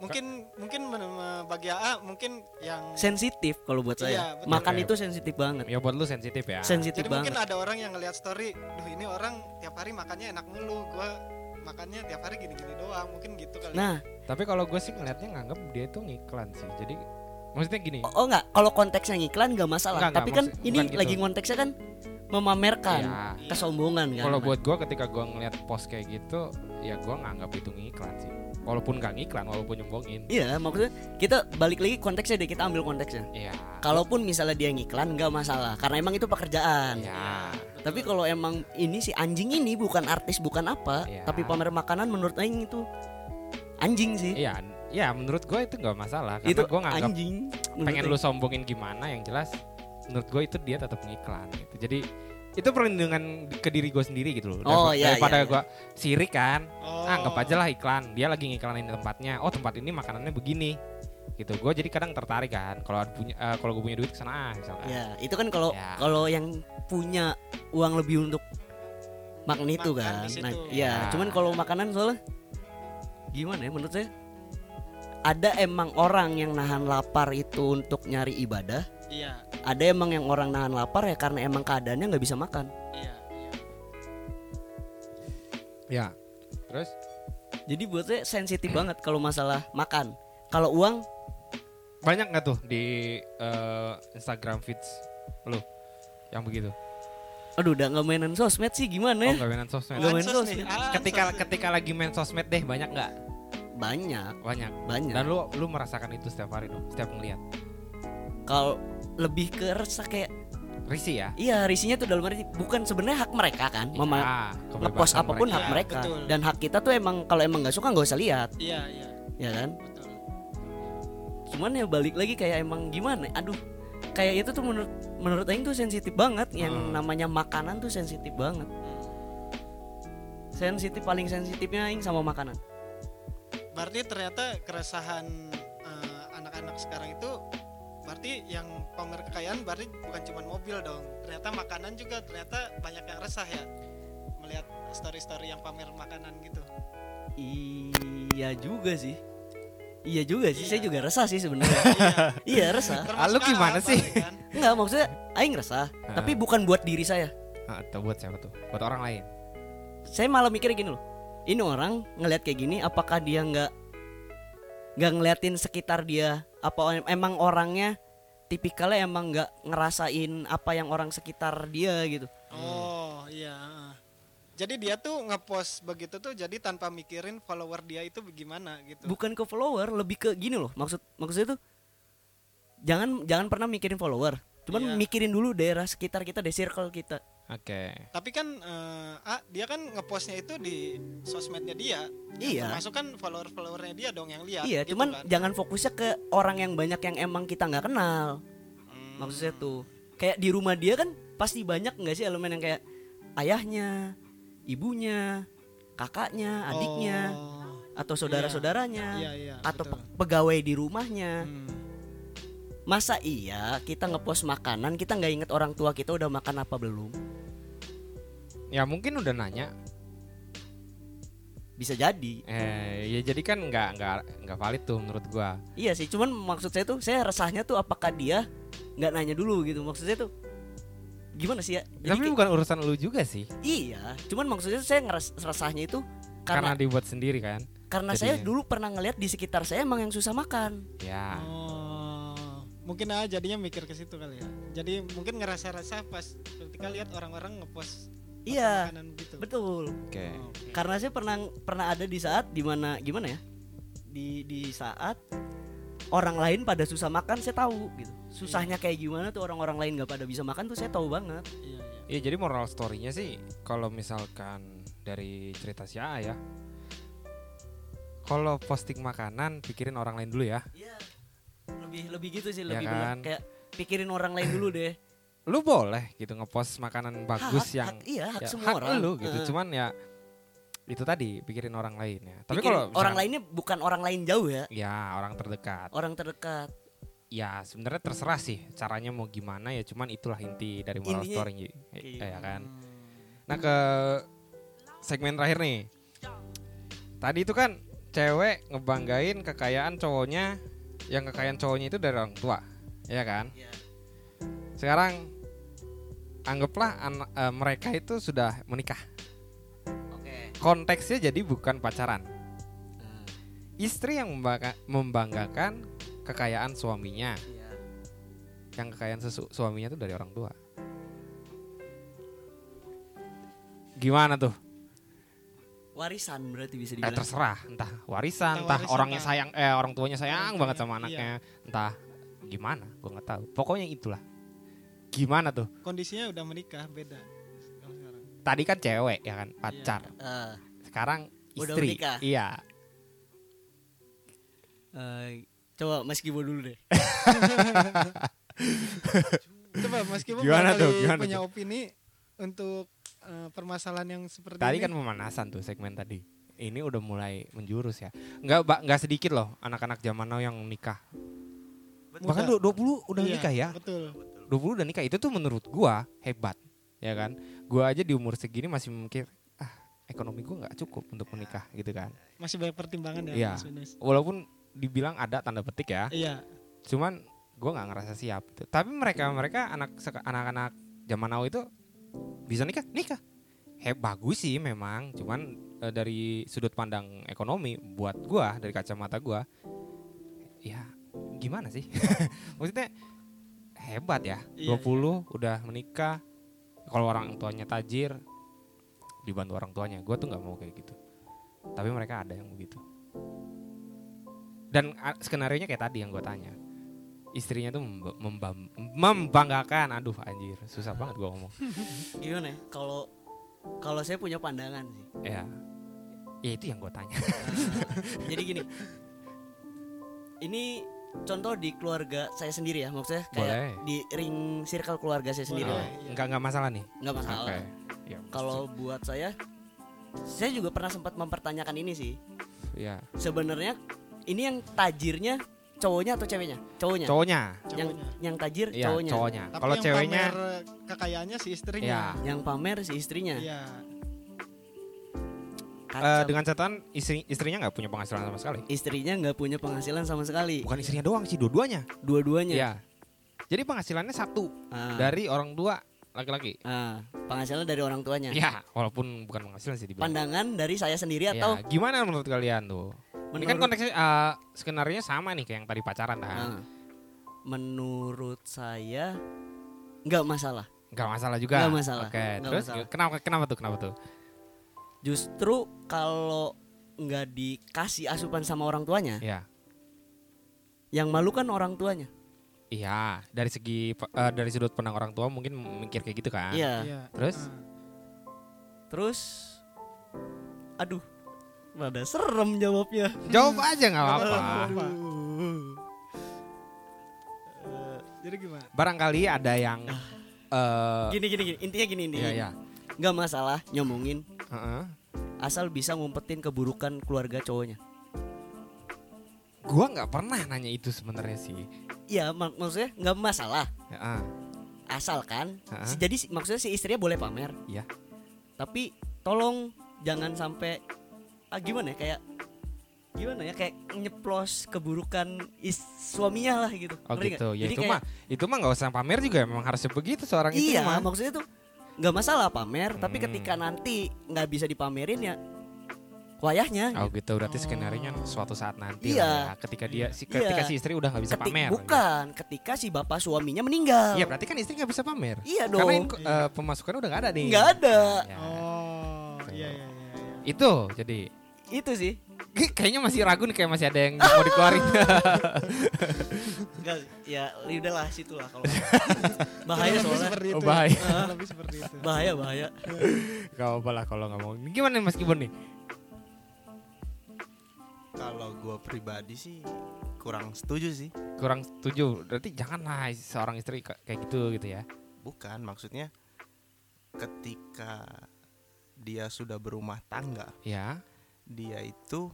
Speaker 2: Mungkin mungkin men- me- bagi AA mungkin yang
Speaker 3: Sensitif kalau buat saya.
Speaker 2: Iya, betul.
Speaker 3: Makan
Speaker 1: Oke.
Speaker 3: itu sensitif banget.
Speaker 1: Ya buat lu sensitif ya.
Speaker 3: Sensitif
Speaker 2: jadi mungkin
Speaker 3: banget.
Speaker 2: ada orang yang ngelihat story, duh ini orang tiap hari makannya enak mulu, gua makannya tiap hari gini-gini doang, mungkin gitu kali.
Speaker 3: Nah,
Speaker 1: Tapi kalau gue sih ngelihatnya nganggap dia itu ngiklan sih. Jadi maksudnya gini.
Speaker 3: Oh, oh enggak, kalau konteksnya ngiklan enggak masalah.
Speaker 1: Enggak,
Speaker 3: Tapi
Speaker 1: enggak,
Speaker 3: kan
Speaker 1: maksud-
Speaker 3: ini
Speaker 1: bukan gitu.
Speaker 3: lagi konteksnya kan memamerkan
Speaker 1: ya.
Speaker 3: kesombongan kan.
Speaker 1: Kalau buat gue ketika gue ngeliat post kayak gitu, ya gue nganggap itu ngiklan sih. Walaupun gak ngiklan, walaupun nyombongin.
Speaker 3: Iya, maksudnya kita balik lagi konteksnya deh, kita ambil konteksnya.
Speaker 1: Iya.
Speaker 3: Kalaupun misalnya dia ngiklan enggak masalah karena emang itu pekerjaan.
Speaker 1: Iya.
Speaker 2: Betul.
Speaker 3: Tapi kalau emang ini si anjing ini bukan artis, bukan apa,
Speaker 1: Iya.
Speaker 3: tapi pamer makanan menurut aing itu anjing sih.
Speaker 1: Iya, ya menurut gue itu nggak masalah karena
Speaker 3: itu
Speaker 1: gue nganggap
Speaker 3: anjing. menurut
Speaker 1: pengen
Speaker 3: aing.
Speaker 1: lu sombongin gimana yang jelas menurut gue itu dia tetap ngiklan gitu. Jadi itu perlindungan di- ke diri gue sendiri gitu loh.
Speaker 3: Oh,
Speaker 1: Daripa-
Speaker 3: iya,
Speaker 1: daripada
Speaker 3: iya, iya.
Speaker 1: gue sirik kan,
Speaker 2: Oh.
Speaker 1: anggap aja lah iklan. Dia lagi ngiklanin tempatnya. Oh tempat ini makanannya begini. gitu gue jadi kadang tertarik kan kalau ada punya eh, kalau gue punya duit kesana ah, misalkan
Speaker 3: Ya, itu kan kalau
Speaker 1: Ya.
Speaker 3: kalau yang punya uang lebih untuk makan itu
Speaker 2: Makan
Speaker 3: kan.
Speaker 2: di situ.
Speaker 3: Nah,
Speaker 1: Ya.
Speaker 3: ya, cuman kalau makanan soalnya gimana ya menurut saya? Ada emang orang yang nahan lapar itu untuk nyari ibadah,
Speaker 2: iya
Speaker 3: ada emang yang orang nahan lapar ya karena emang keadaannya nggak bisa makan.
Speaker 2: iya iya
Speaker 1: ya terus
Speaker 3: Jadi buat saya sensitif banget kalau masalah makan. Kalau uang
Speaker 1: banyak nggak tuh di eh, Instagram feeds lo yang begitu
Speaker 3: aduh udah nggak mainan sosmed sih gimana
Speaker 1: oh
Speaker 3: ya?
Speaker 1: nggak mainan sosmed
Speaker 3: Nggak mainan
Speaker 2: Ansos nih,
Speaker 3: sosmed.
Speaker 2: ansos
Speaker 1: ketika
Speaker 2: nih.
Speaker 1: ketika lagi main sosmed deh banyak nggak
Speaker 3: Banyak,
Speaker 1: banyak
Speaker 3: banyak.
Speaker 1: dan lu lu merasakan itu setiap hari dong setiap ngeliat
Speaker 3: kalau lebih ke resah kayak
Speaker 1: risih ya
Speaker 3: iya risinya tuh dalam arti bukan sebenarnya hak mereka kan mema-
Speaker 1: Ah, kebebasan
Speaker 3: ngepost apapun
Speaker 1: mereka.
Speaker 3: hak mereka
Speaker 2: Betul.
Speaker 3: dan hak kita tuh emang kalau emang nggak suka nggak usah lihat
Speaker 2: iya iya
Speaker 3: ya kan
Speaker 2: betul
Speaker 3: cuman ya balik lagi kayak emang gimana aduh kayak itu tuh menurut menurut Aing tuh sensitif banget yang
Speaker 1: Hmm.
Speaker 3: namanya makanan tuh sensitif banget sensitif paling sensitifnya Aing sama makanan
Speaker 2: berarti ternyata keresahan eh, anak-anak sekarang itu berarti yang pamer kekayaan berarti bukan cuma mobil dong ternyata makanan juga ternyata banyak yang resah ya melihat story-story yang pamer makanan gitu
Speaker 3: iya juga sih iya juga sih
Speaker 2: Iya.
Speaker 3: saya juga resah sih sebenarnya
Speaker 2: iya
Speaker 3: iya resah
Speaker 1: Ah, lu
Speaker 2: Termasuk
Speaker 1: gimana
Speaker 2: hal-hal
Speaker 1: sih?
Speaker 2: baru
Speaker 3: (laughs)
Speaker 2: kan?
Speaker 3: nggak maksudnya Aing resah tapi bukan buat diri saya
Speaker 1: Ah, atau buat siapa tuh buat orang lain
Speaker 3: saya malah mikirnya gini loh ini orang ngelihat kayak gini apakah dia nggak nggak ngeliatin sekitar dia apa em- emang orangnya tipikalnya emang nggak ngerasain apa yang orang sekitar dia gitu
Speaker 2: oh iya jadi dia tuh ngepost begitu tuh jadi tanpa mikirin follower dia itu gimana gitu
Speaker 3: bukan ke follower lebih ke gini loh maksud maksudnya tuh jangan jangan pernah mikirin follower
Speaker 2: Iya.
Speaker 3: cuman mikirin dulu daerah sekitar kita deh circle kita
Speaker 1: oke
Speaker 2: tapi kan eh, ah, dia kan ngepostnya itu di sosmednya dia
Speaker 3: Iya.
Speaker 2: masuk kan follower-followernya dia dong yang lihat
Speaker 3: iya
Speaker 2: gitu kan.
Speaker 3: cuman jangan fokusnya ke orang yang banyak yang emang kita nggak kenal
Speaker 2: Hmm.
Speaker 3: maksudnya tuh kayak di rumah dia kan pasti banyak nggak sih elemen yang kayak ayahnya ibunya kakaknya adiknya
Speaker 2: Oh.
Speaker 3: atau saudara
Speaker 2: Iya,
Speaker 3: saudaranya
Speaker 2: iya,
Speaker 3: atau
Speaker 2: betul.
Speaker 3: pe- pegawai di rumahnya
Speaker 2: Hmm.
Speaker 3: masa iya kita ngepost makanan kita nggak inget orang tua kita udah makan apa belum
Speaker 1: ya mungkin udah nanya
Speaker 3: bisa jadi
Speaker 1: eh ya jadi kan nggak nggak nggak valid tuh menurut gua
Speaker 3: iya sih cuman maksud saya tuh saya resahnya tuh apakah dia nggak nanya dulu gitu maksud saya tuh gimana sih ya Jadi
Speaker 1: tapi
Speaker 3: kayak-
Speaker 1: bukan urusan lu juga sih
Speaker 3: iya cuman maksudnya saya ngeres resahnya itu
Speaker 1: karena,
Speaker 3: karena
Speaker 1: dibuat sendiri kan
Speaker 3: karena saya
Speaker 1: jadinya.
Speaker 3: dulu pernah ngeliat di sekitar saya emang yang susah makan Ah.
Speaker 1: ya
Speaker 2: Oh. Mungkin ah jadinya mikir ke situ kali ya. Jadi mungkin ngerasa-rasa pas ketika lihat orang-orang ngepost makan
Speaker 3: Iya,
Speaker 2: makanan gitu.
Speaker 3: betul.
Speaker 1: oke
Speaker 2: Oh, oke.
Speaker 3: Karena saya pernah pernah ada di saat dimana gimana ya? Di di saat orang lain pada susah makan saya tahu gitu. Susahnya kayak gimana tuh orang-orang lain nggak pada bisa makan tuh saya tahu banget.
Speaker 2: Iya,
Speaker 1: ya
Speaker 2: iya.
Speaker 1: jadi moral story-nya sih kalau misalkan dari cerita si A ya kalau posting makanan pikirin orang lain dulu ya
Speaker 3: Iya. Lebih lebih gitu
Speaker 1: Ya
Speaker 3: sih lebih
Speaker 1: kan?
Speaker 3: bener. kayak pikirin orang lain dulu deh.
Speaker 1: lu boleh gitu ngepost makanan bagus
Speaker 3: Hak-
Speaker 1: yang
Speaker 3: hak- iya hak
Speaker 1: ya,
Speaker 3: semua orang.
Speaker 1: lu gitu
Speaker 3: Heeh.
Speaker 1: cuman ya itu tadi pikirin orang lain ya tapi
Speaker 3: Pikirin
Speaker 1: kalau
Speaker 3: orang
Speaker 1: misalkan-
Speaker 3: lainnya bukan orang lain Oh. jauh ya,
Speaker 1: ya orang terdekat
Speaker 3: orang terdekat.
Speaker 1: ya sebenarnya terserah sih caranya mau gimana ya cuman itulah inti dari moral
Speaker 3: Intinya- gitu.
Speaker 1: story eh,
Speaker 3: Oke.
Speaker 1: ya kan nah ke segmen terakhir nih tadi itu kan cewek ngebanggain kekayaan cowoknya yang kekayaan cowoknya itu dari orang tua ya kan
Speaker 3: Iya.
Speaker 1: sekarang anggaplah anak- eh, mereka itu sudah menikah
Speaker 3: Oke.
Speaker 1: konteksnya jadi bukan pacaran
Speaker 3: Eh,
Speaker 1: istri yang membangga- membanggakan kekayaan suaminya
Speaker 3: iya.
Speaker 1: yang kekayaan sesu- suaminya tuh dari orang tua. Gimana tuh?
Speaker 3: Warisan berarti
Speaker 1: Eh,
Speaker 3: bisa dibilang.
Speaker 1: terserah, entah warisan,
Speaker 2: Entah
Speaker 1: entah
Speaker 2: warisan,
Speaker 1: orangnya
Speaker 2: Pak.
Speaker 1: sayang, eh orang tuanya sayang
Speaker 2: Orang
Speaker 1: banget
Speaker 2: tuanya,
Speaker 1: sama
Speaker 2: iya.
Speaker 1: anaknya, entah gimana, gua nggak tahu. Pokoknya itulah. Gimana tuh?
Speaker 2: Kondisinya udah menikah beda. Kalau sekarang.
Speaker 1: Tadi kan cewek ya kan,
Speaker 2: Iya.
Speaker 1: pacar.
Speaker 3: Eh,
Speaker 1: Sekarang
Speaker 3: Udah
Speaker 1: istri.
Speaker 3: menikah.
Speaker 1: Iya.
Speaker 3: eh, coba Mas Gibo dulu deh.
Speaker 2: Coba meskipun
Speaker 1: Gimana tuh, gimana
Speaker 2: punya
Speaker 1: tuh?
Speaker 2: opini untuk eh, permasalahan yang seperti
Speaker 1: Tadi
Speaker 2: ini.
Speaker 1: kan pemanasan tuh segmen tadi. Ini udah mulai menjurus ya. Nggak ba- nggak sedikit loh anak-anak zaman now yang nikah bahkan
Speaker 2: Muda.
Speaker 1: du- 20 udah
Speaker 2: Iya,
Speaker 1: nikah ya
Speaker 2: Betul.
Speaker 1: 20 udah nikah itu tuh menurut gua hebat ya kan gua aja di umur segini masih mungkin ah ekonomi gua nggak cukup untuk menikah
Speaker 2: Iya.
Speaker 1: gitu kan
Speaker 2: Masih banyak pertimbangan ya
Speaker 1: Iya.
Speaker 2: Mas Unes.
Speaker 1: walaupun dibilang ada tanda petik ya
Speaker 2: Iya.
Speaker 1: cuman gua nggak ngerasa siap gitu. tapi mereka mereka anak seka- anak-anak zaman now itu bisa nikah nikah He, bagus sih memang cuman eh, dari sudut pandang ekonomi buat gua dari kacamata gua ya gimana sih (laughs) maksudnya hebat ya
Speaker 2: Iya,
Speaker 1: 20 udah menikah kalau orang tuanya tajir dibantu orang tuanya gua tuh nggak mau kayak gitu tapi mereka ada yang begitu dan a- skenarionya kayak tadi yang gua tanya istrinya tuh memba- membam- membanggakan aduh anjir susah banget gua ngomong
Speaker 3: Gimana? ya? Kalau kalau saya punya pandangan
Speaker 1: (laughs)
Speaker 3: sih.
Speaker 1: ya ya itu yang gue tanya
Speaker 3: Jadi gini. Ini contoh di keluarga saya sendiri ya, maksudnya kayak
Speaker 1: boleh
Speaker 3: di ring circle keluarga saya sendiri
Speaker 2: Boleh.
Speaker 3: lah.
Speaker 2: iya.
Speaker 1: nggak nggak masalah nih
Speaker 3: Nggak masalah.
Speaker 1: Oke. Ya,
Speaker 3: Kalau buat saya saya juga pernah sempat mempertanyakan ini sih.
Speaker 1: ya
Speaker 3: Sebenarnya ini yang tajirnya cowoknya atau ceweknya? Cowoknya.
Speaker 1: cowoknya
Speaker 3: Yang
Speaker 2: Cowoknya.
Speaker 3: yang tajir
Speaker 1: ya
Speaker 3: cowoknya.
Speaker 1: cowoknya
Speaker 2: Tapi
Speaker 1: kalau
Speaker 2: yang
Speaker 1: ceweknya
Speaker 2: pamer kekayaannya si
Speaker 1: ya
Speaker 2: istrinya.
Speaker 3: Yang pamer si istrinya.
Speaker 2: Iya.
Speaker 1: eh,
Speaker 3: Kacau.
Speaker 1: dengan catatan istri istrinya nggak punya penghasilan sama sekali
Speaker 3: istrinya nggak punya penghasilan sama sekali.
Speaker 1: bukan istrinya doang sih dua-duanya
Speaker 3: Dua-duanya.
Speaker 1: ya jadi penghasilannya satu
Speaker 3: Iya. Ah,
Speaker 1: dari orang tua laki-laki
Speaker 3: ah, penghasilan dari orang tuanya.
Speaker 1: ya walaupun bukan penghasilan sih dibilang
Speaker 3: Pandangan dari saya sendiri
Speaker 1: ya,
Speaker 3: Iya. atau
Speaker 1: gimana menurut kalian tuh ini kan
Speaker 3: menurut-
Speaker 1: konteksnya eh, skenario sama nih kayak yang tadi pacaran kan
Speaker 3: Ah, menurut saya nggak masalah.
Speaker 1: nggak masalah juga
Speaker 3: Nggak masalah.
Speaker 1: oke
Speaker 3: Nggak
Speaker 1: terus
Speaker 3: masalah.
Speaker 1: kenapa kenapa tuh kenapa tuh
Speaker 3: Justru kalau nggak dikasih asupan sama orang tuanya,
Speaker 1: ya
Speaker 3: yang malu kan orang tuanya.
Speaker 1: Iya, dari segi eh, dari sudut pandang orang tua mungkin mikir kayak gitu kan.
Speaker 3: Iya.
Speaker 2: Iya.
Speaker 1: Terus?
Speaker 2: Ah.
Speaker 3: Terus, aduh, pada serem jawabnya.
Speaker 1: Jawab aja nggak apa-apa.
Speaker 3: Iya.
Speaker 2: Apa?
Speaker 3: Aduh.
Speaker 2: Jadi gimana?
Speaker 1: Barangkali ada yang eh
Speaker 3: Ah. Gini gini gini, intinya gini intinya.
Speaker 1: iya, iya.
Speaker 3: Nggak masalah nyomongin
Speaker 1: Heeh.
Speaker 3: asal bisa ngumpetin keburukan keluarga cowoknya.
Speaker 1: Gua nggak pernah nanya itu sebenarnya sih.
Speaker 3: Iya, mak- maksudnya nggak masalah.
Speaker 1: Heeh.
Speaker 3: asalkan
Speaker 1: Ha-ha.
Speaker 3: kan? si- jadi si- maksudnya si istrinya boleh pamer
Speaker 1: Iya.
Speaker 3: tapi tolong jangan sampai ah, gimana ya kayak gimana ya kayak nyeplos keburukan is suaminya lah gitu
Speaker 1: Oh gitu.
Speaker 3: Ngerti nggak?
Speaker 1: Ya
Speaker 3: Jadi
Speaker 1: itu
Speaker 3: kayak-
Speaker 1: mah itu mah nggak usah pamer juga memang harusnya begitu seorang itu
Speaker 3: iya
Speaker 1: mah.
Speaker 3: maksudnya tuh nggak masalah pamer tapi
Speaker 1: Hmm.
Speaker 3: ketika nanti nggak bisa dipamerin ya wayahnya
Speaker 1: Oh gitu berarti
Speaker 2: Oh.
Speaker 1: skenarionya suatu saat nanti lah
Speaker 3: Iya.
Speaker 1: ya, ketika dia si ketika
Speaker 3: Iya.
Speaker 1: si istri udah nggak bisa
Speaker 3: Ketik-
Speaker 1: pamer.
Speaker 3: bukan ketika si bapak suaminya meninggal
Speaker 1: Iya berarti kan istri nggak bisa pamer.
Speaker 3: iya
Speaker 1: Karena
Speaker 3: dong
Speaker 1: inko- eh, pemasukannya udah nggak ada nih.
Speaker 3: nggak ada
Speaker 1: Ya.
Speaker 2: Oh, iya iya iya. iya.
Speaker 1: Itu jadi
Speaker 3: itu sih
Speaker 1: Kayak- kayaknya masih ragu nih kayak masih ada yang mau (laughs) dikeluarin
Speaker 3: Enggak, ya udahlah situ lah
Speaker 1: (laughs)
Speaker 3: kalau bahaya
Speaker 2: Kurang lebih
Speaker 3: soalnya
Speaker 2: seperti
Speaker 1: Oh,
Speaker 2: itu.
Speaker 1: bahaya.
Speaker 2: Kurang lebih seperti itu.
Speaker 3: bahaya bahaya
Speaker 1: gak apa lah kalau nggak mau gimana nih mas Kibon nih
Speaker 4: Kalau gue pribadi sih kurang setuju sih.
Speaker 1: kurang setuju berarti janganlah seorang istri ka- kayak gitu gitu ya
Speaker 4: Bukan maksudnya ketika dia sudah berumah tangga,
Speaker 1: ya
Speaker 4: dia itu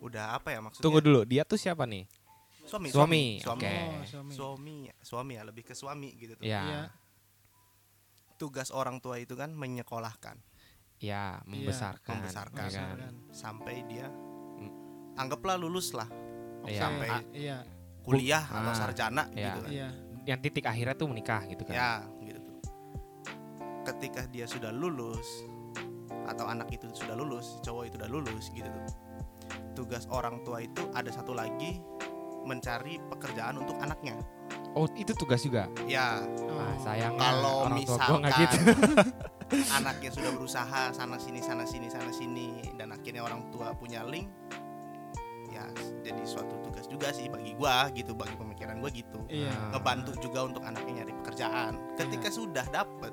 Speaker 4: udah apa ya maksudnya?
Speaker 1: tunggu dulu dia tuh siapa nih
Speaker 4: Suami.
Speaker 1: Suami,
Speaker 4: Suami.
Speaker 1: (laughs) oke. Iya,
Speaker 2: Oh, suami.
Speaker 4: Suami, suami ya lebih ke suami gitu tuh.
Speaker 2: Iya.
Speaker 1: ya
Speaker 4: Tugas orang tua itu kan menyekolahkan
Speaker 1: ya membesarkan
Speaker 4: Iya,
Speaker 2: iya,
Speaker 4: membesarkan.
Speaker 1: ya kan?
Speaker 2: Maksudnya.
Speaker 4: sampai dia
Speaker 1: Hmm.
Speaker 4: anggaplah lulus lah
Speaker 1: Iya.
Speaker 4: sampai
Speaker 1: Ah,
Speaker 2: Iya,
Speaker 4: kuliah atau
Speaker 1: Ah,
Speaker 4: sarjana
Speaker 1: iya.
Speaker 4: gitu kan.
Speaker 2: iya.
Speaker 1: yang titik akhirnya tuh menikah gitu kan
Speaker 4: Ya, gitu tuh. Ketika dia sudah lulus atau anak itu sudah lulus, cowok itu sudah lulus gitu tuh. Tugas orang tua itu ada satu lagi mencari pekerjaan untuk anaknya.
Speaker 1: oh itu tugas juga
Speaker 4: Ya,
Speaker 1: ah,
Speaker 2: Oh.
Speaker 1: sayang
Speaker 4: kalau
Speaker 1: orang tua gua
Speaker 4: misalkan
Speaker 1: nggak gitu
Speaker 4: (laughs) anaknya sudah berusaha sana sini sana sini sana sini dan akhirnya orang tua punya link ya jadi suatu tugas juga sih bagi gua gitu bagi pemikiran gua gitu
Speaker 2: Iya.
Speaker 1: Ah.
Speaker 4: ngebantu juga untuk anaknya nyari pekerjaan.
Speaker 1: Iya.
Speaker 4: Ketika sudah dapet,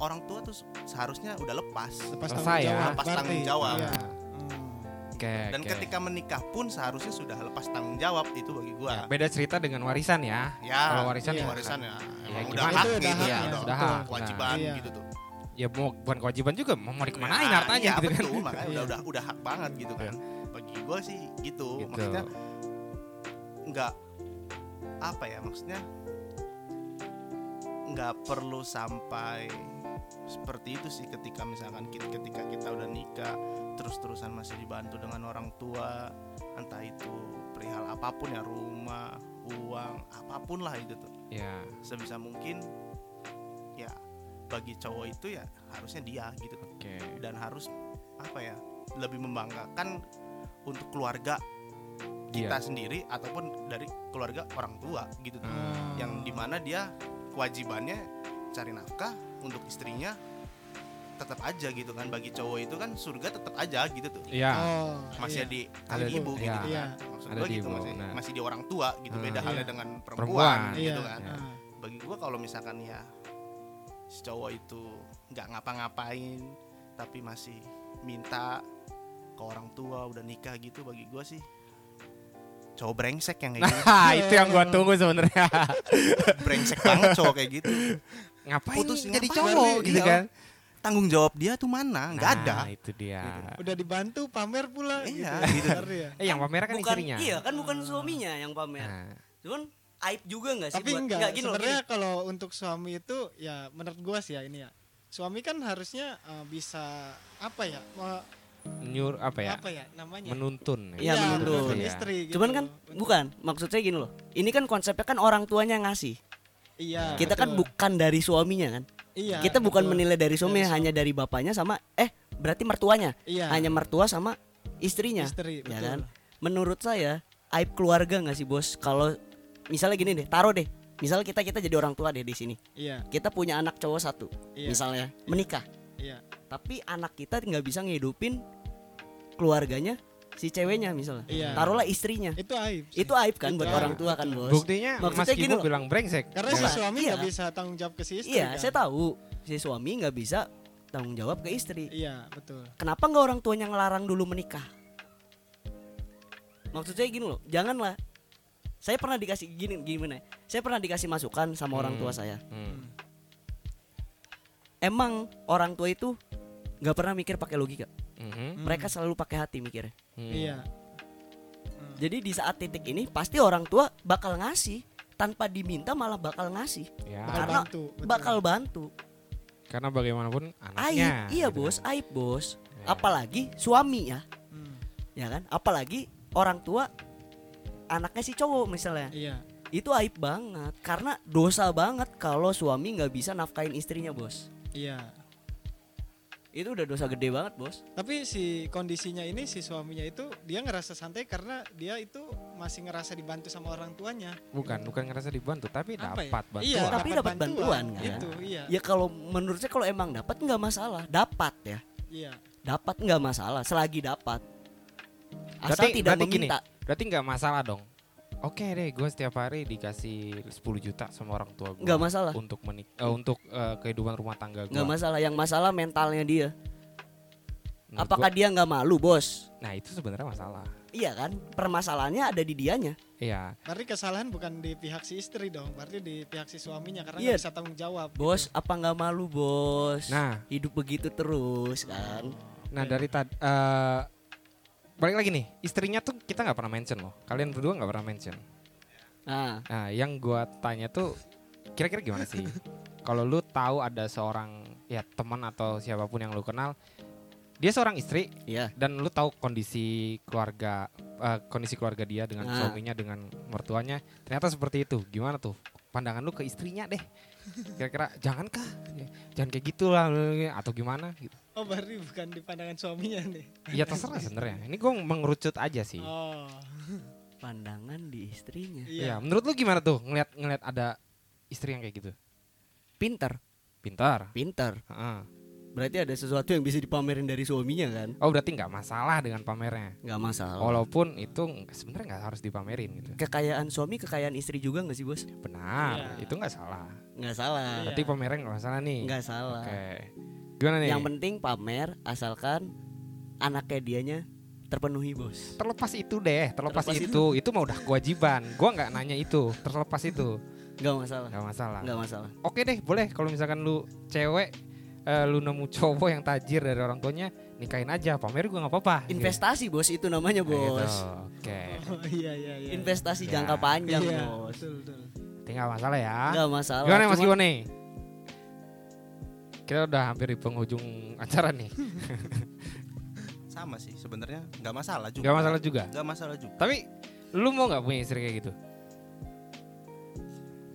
Speaker 4: orang tua tuh seharusnya udah lepas.
Speaker 2: Lepas
Speaker 1: Selesai
Speaker 2: tanggung
Speaker 1: ya.
Speaker 2: jawab.
Speaker 4: Lepas
Speaker 2: berarti.
Speaker 4: tanggung
Speaker 1: (laughs)
Speaker 4: jawab.
Speaker 2: Iya.
Speaker 1: Ya.
Speaker 2: Hmm.
Speaker 1: oke
Speaker 4: Dan
Speaker 1: oke.
Speaker 4: ketika menikah pun seharusnya sudah lepas tanggung jawab itu bagi
Speaker 1: Ya,
Speaker 4: gua.
Speaker 1: beda cerita dengan warisan ya
Speaker 4: Ya,
Speaker 1: kalau warisan
Speaker 2: iya.
Speaker 1: ya,
Speaker 4: warisan ya, emang
Speaker 1: gimana?
Speaker 4: udah hak
Speaker 2: Itu udah
Speaker 4: gitu
Speaker 2: hak,
Speaker 4: ya,
Speaker 2: ya,
Speaker 4: udah
Speaker 1: udah
Speaker 4: betul,
Speaker 1: hak,
Speaker 4: kewajiban
Speaker 2: nah.
Speaker 4: gitu tuh.
Speaker 1: ya mau bukan kewajiban juga mau mau dikemanain
Speaker 4: Nah,
Speaker 1: hartanya
Speaker 4: iya,
Speaker 1: gitu kan Iya.
Speaker 4: betul, makanya udah
Speaker 2: Iya.
Speaker 4: udah udah hak banget gitu kan. Bagi gua sih gitu,
Speaker 1: gitu
Speaker 4: maksudnya nggak apa ya maksudnya nggak perlu sampai seperti itu sih ketika misalkan kita, ketika kita udah nikah terus-terusan masih dibantu dengan orang tua entah itu perihal apapun ya rumah uang apapun lah itu tuh
Speaker 1: ya
Speaker 4: sebisa mungkin ya bagi cowok itu ya harusnya dia gitu
Speaker 1: oke
Speaker 4: dan harus apa ya lebih membanggakan untuk keluarga kita
Speaker 1: Iya.
Speaker 4: sendiri ataupun dari keluarga orang tua gitu tuh.
Speaker 1: Hmm.
Speaker 4: yang dimana dia kewajibannya cari nafkah untuk istrinya tetap aja gitu kan bagi cowok itu kan surga tetap aja gitu tuh
Speaker 1: ya (laughs)
Speaker 2: oh iya.
Speaker 4: masih di
Speaker 1: Ada
Speaker 4: kali
Speaker 1: di-
Speaker 4: ibu gitu
Speaker 1: iya.
Speaker 4: kan
Speaker 2: Iya.
Speaker 4: maksud
Speaker 1: Ada
Speaker 4: gua
Speaker 1: di
Speaker 4: gitu
Speaker 1: ibu,
Speaker 4: masih
Speaker 1: nah.
Speaker 4: masih di orang tua gitu
Speaker 1: Hmm,
Speaker 4: beda
Speaker 1: iya.
Speaker 4: halnya dengan perempuan,
Speaker 1: Perempuan,
Speaker 4: gitu
Speaker 2: Iya.
Speaker 4: kan
Speaker 1: Ya.
Speaker 2: Ah.
Speaker 4: bagi gua kalau misalkan ya si cowok itu nggak ngapa-ngapain tapi masih minta ke orang tua udah nikah gitu bagi gua sih cowok brengsek
Speaker 1: (laughs)
Speaker 4: yang kayak gitu
Speaker 1: Hah, Nah, itu yang gua tunggu sebenarnya
Speaker 4: brengsek banget cowok kayak gitu
Speaker 1: ngapain
Speaker 4: Putus,
Speaker 1: jadi
Speaker 4: ngapain?
Speaker 1: cowok gitu
Speaker 4: Iya.
Speaker 1: kan
Speaker 4: tanggung jawab dia tuh mana nggak
Speaker 1: Nah,
Speaker 4: ada
Speaker 1: itu dia
Speaker 2: udah dibantu pamer pula
Speaker 4: Iya,
Speaker 2: gitu,
Speaker 4: gitu.
Speaker 2: Bener ya.
Speaker 1: eh yang pamer kan
Speaker 3: bukan
Speaker 1: istrinya
Speaker 3: iya kan bukan suaminya yang pamer
Speaker 1: Nah,
Speaker 3: cuman aib juga nggak sih
Speaker 2: tapi
Speaker 3: buat
Speaker 2: enggak,
Speaker 3: nggak, gini loh,
Speaker 2: sebenarnya kalau untuk suami itu ya menurut gua sih ya ini ya suami kan harusnya eh, bisa apa ya me-
Speaker 1: nyur apa ya
Speaker 2: apa ya namanya
Speaker 1: menuntun
Speaker 3: Iya, menuntun.
Speaker 1: Iya.
Speaker 2: istri gitu.
Speaker 3: Cuman kan
Speaker 2: Untuk-
Speaker 3: bukan, maksud saya gini loh. Ini kan konsepnya kan orang tuanya yang ngasih.
Speaker 2: iya
Speaker 3: Kita kan
Speaker 2: betul.
Speaker 3: bukan dari suaminya kan.
Speaker 2: iya,
Speaker 3: Kita bukan
Speaker 2: betul.
Speaker 3: menilai dari suaminya,
Speaker 2: Dari suami.
Speaker 3: hanya dari bapaknya sama eh berarti mertuanya.
Speaker 2: iya
Speaker 3: Hanya mertua sama istrinya.
Speaker 2: istri
Speaker 3: Ya
Speaker 2: betul.
Speaker 3: kan? Menurut saya aib keluarga nggak sih, Bos? Kalau misalnya gini deh, taruh deh. Misalnya kita kita jadi orang tua deh di sini.
Speaker 2: iya
Speaker 3: Kita punya anak cowok satu,
Speaker 2: iya
Speaker 3: misalnya menikah.
Speaker 2: iya
Speaker 3: Tapi anak kita nggak bisa ngehidupin keluarganya si ceweknya misalnya.
Speaker 2: Iya.
Speaker 3: Taruhlah istrinya.
Speaker 2: itu aib sih.
Speaker 3: Itu aib kan
Speaker 2: Itu
Speaker 3: buat
Speaker 2: aib,
Speaker 3: orang tua kan, Bos?
Speaker 1: buktinya
Speaker 3: Maksudnya
Speaker 1: mas
Speaker 3: gini
Speaker 1: Kibo
Speaker 3: loh.
Speaker 1: bilang brengsek
Speaker 2: karena
Speaker 1: Ya.
Speaker 2: si
Speaker 3: Bukan,
Speaker 2: suami
Speaker 3: iya.
Speaker 2: nggak bisa tanggung jawab ke si istri
Speaker 3: Iya,
Speaker 2: kan?
Speaker 3: saya tahu si suami nggak bisa tanggung jawab ke istri.
Speaker 2: iya betul
Speaker 3: Kenapa nggak orang tuanya ngelarang dulu menikah? Maksud saya gini loh, janganlah. Saya pernah dikasih gini gimana? ya? Saya pernah dikasih masukan sama orang
Speaker 1: Hmm.
Speaker 3: tua saya.
Speaker 1: Hmm.
Speaker 3: Emang orang tua itu nggak pernah mikir pakai logika.
Speaker 1: Mhm.
Speaker 2: Hmm.
Speaker 3: Mereka selalu pakai hati mikirnya.
Speaker 1: Hmm.
Speaker 2: iya
Speaker 3: Jadi di saat titik ini pasti orang tua bakal ngasih tanpa diminta malah bakal ngasih,
Speaker 1: Ya,
Speaker 2: bakal
Speaker 3: Karena
Speaker 2: bantu betul.
Speaker 3: bakal bantu.
Speaker 1: karena bagaimanapun
Speaker 3: Aib,
Speaker 1: anaknya
Speaker 3: iya
Speaker 1: gitu
Speaker 3: bos, aib bos.
Speaker 1: kan. Ya.
Speaker 3: Apalagi suami ya.
Speaker 2: Hmm,
Speaker 3: ya kan apalagi orang tua anaknya si cowok misalnya
Speaker 2: iya
Speaker 3: itu aib banget karena dosa banget kalau suami nggak bisa nafkain istrinya bos
Speaker 2: iya
Speaker 3: itu udah dosa gede banget bos
Speaker 2: tapi si kondisinya ini si suaminya itu dia ngerasa santai karena dia itu masih ngerasa dibantu sama orang tuanya
Speaker 1: bukan bukan ngerasa dibantu tapi
Speaker 2: Apa ya?
Speaker 1: dapat bantuan
Speaker 2: iya
Speaker 3: Tapi dapat bantuan, kan?
Speaker 2: itu iya
Speaker 3: ya kalau menurut saya kalau emang dapat nggak masalah dapat ya
Speaker 2: iya
Speaker 3: dapat nggak masalah selagi dapat asal
Speaker 1: Berarti-
Speaker 3: tidak
Speaker 1: berarti gini.
Speaker 3: meminta
Speaker 1: berarti nggak masalah dong oke deh gue setiap hari dikasih 10 juta sama orang tua gue
Speaker 3: nggak masalah
Speaker 1: untuk menik eh, untuk eh, kehidupan rumah tangga gue
Speaker 3: nggak masalah yang masalah mentalnya dia apakah dia nggak malu bos
Speaker 1: nah itu sebenarnya masalah
Speaker 3: iya kan permasalahannya ada di dianya
Speaker 1: iya
Speaker 2: berarti kesalahan bukan di pihak si istri dong berarti di pihak si suaminya karena
Speaker 3: Iya.
Speaker 2: nggak bisa tanggung jawab gitu.
Speaker 3: bos apa nggak malu bos
Speaker 1: nah
Speaker 3: hidup begitu terus kan
Speaker 1: Nah
Speaker 2: Oke.
Speaker 1: dari tadi eh, balik lagi nih istrinya tuh kita nggak pernah mention loh. Kalian berdua nggak pernah mention.
Speaker 3: nah
Speaker 1: Nah yang gua tanya tuh kira-kira gimana
Speaker 3: (laughs)
Speaker 1: sih? Kalau lu tahu ada seorang ya teman atau siapapun yang lu kenal, dia seorang istri
Speaker 3: iya
Speaker 1: dan lu tahu kondisi keluarga eh, kondisi keluarga dia dengan
Speaker 3: Nah.
Speaker 1: suaminya dengan mertuanya ternyata seperti itu. Gimana tuh? Pandangan lu ke istrinya deh. Kira-kira jangankah? Jangan kayak gitulah atau gimana gitu.
Speaker 2: oh berarti bukan di pandangan suaminya nih
Speaker 1: Ya terserah sebenarnya. Ini gua mengerucut aja sih.
Speaker 2: (laughs) oh
Speaker 3: pandangan di istrinya
Speaker 1: Iya,
Speaker 2: iya
Speaker 1: menurut lu gimana tuh ngelihat ngelihat ada istri yang kayak gitu?
Speaker 3: pinter
Speaker 1: Pintar.
Speaker 3: pinter
Speaker 1: Heeh.
Speaker 3: berarti ada sesuatu yang bisa dipamerin dari suaminya kan
Speaker 1: Oh, berarti nggak masalah dengan pamernya.
Speaker 3: nggak masalah
Speaker 1: Walaupun itu nggak- sebenarnya nggak harus dipamerin gitu.
Speaker 3: kekayaan suami kekayaan istri juga nggak sih bos
Speaker 1: Benar,
Speaker 2: Iya.
Speaker 1: itu nggak salah.
Speaker 3: nggak salah
Speaker 2: Iya.
Speaker 1: Berarti pamernya nggak masalah nih.
Speaker 3: nggak salah
Speaker 1: Oke. Gimana nih?
Speaker 3: yang penting pamer asalkan anaknya dianya terpenuhi bos
Speaker 1: terlepas itu deh, terlepas,
Speaker 3: Terlepas
Speaker 1: itu, itu, mah udah kewajiban. Gua nggak nanya itu, terlepas itu
Speaker 3: nggak masalah Nah.
Speaker 1: nggak masalah.
Speaker 3: nggak masalah
Speaker 1: Oke deh, boleh kalau misalkan lu cewek eh, lu nemu cowok yang tajir dari orang tuanya nikahin aja pamer gue nggak apa-apa gitu.
Speaker 3: Investasi bos itu namanya
Speaker 1: Nah, gitu.
Speaker 3: bos.
Speaker 1: oke
Speaker 2: Oh iya iya iya.
Speaker 3: Investasi
Speaker 1: Ya.
Speaker 3: jangka panjang
Speaker 2: Iya,
Speaker 3: bos.
Speaker 2: Betul betul.
Speaker 1: tinggal masalah ya
Speaker 3: Enggak masalah.
Speaker 1: gimana mas
Speaker 3: cuman-
Speaker 1: Giwo nih kita udah hampir di penghujung acara nih
Speaker 4: sama sih sebenarnya nggak masalah juga
Speaker 1: nggak masalah juga
Speaker 4: nggak masalah juga
Speaker 1: tapi lu mau nggak punya istri kayak gitu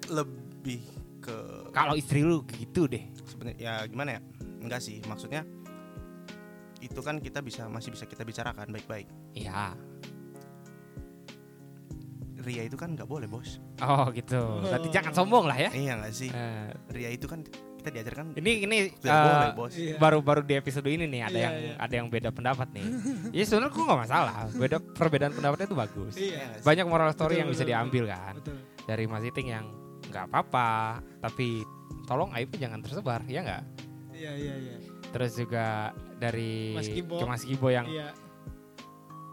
Speaker 4: lebih ke
Speaker 1: kalau istri lu gitu deh
Speaker 4: sebenarnya ya gimana ya enggak sih maksudnya itu kan kita bisa masih bisa kita bicarakan baik-baik
Speaker 1: iya
Speaker 4: Ria itu kan nggak boleh bos
Speaker 1: oh gitu berarti jangan sombong lah ya
Speaker 4: iya nggak sih
Speaker 1: Eh,
Speaker 4: Ria itu kan kita diajarkan
Speaker 1: ini ini
Speaker 4: tidak
Speaker 1: eh,
Speaker 4: boleh bos
Speaker 2: Iya.
Speaker 1: baru-baru di episode ini nih ada
Speaker 2: Iya,
Speaker 1: yang
Speaker 2: iya.
Speaker 1: ada yang beda pendapat nih. ya sebenarnya gue nggak masalah. Beda perbedaan pendapatnya itu bagus.
Speaker 2: Iya.
Speaker 4: nggak sih?
Speaker 1: Banyak moral story
Speaker 2: Betul,
Speaker 1: yang bisa
Speaker 2: betul,
Speaker 1: diambil kan
Speaker 2: Betul.
Speaker 1: dari Mas Iting yang nggak apa-apa, tapi tolong aibnya jangan tersebar ya nggak.
Speaker 2: Iya iya iya.
Speaker 1: Terus juga dari
Speaker 2: Mas Gibo.
Speaker 1: ke Mas Gibo yang
Speaker 2: Iya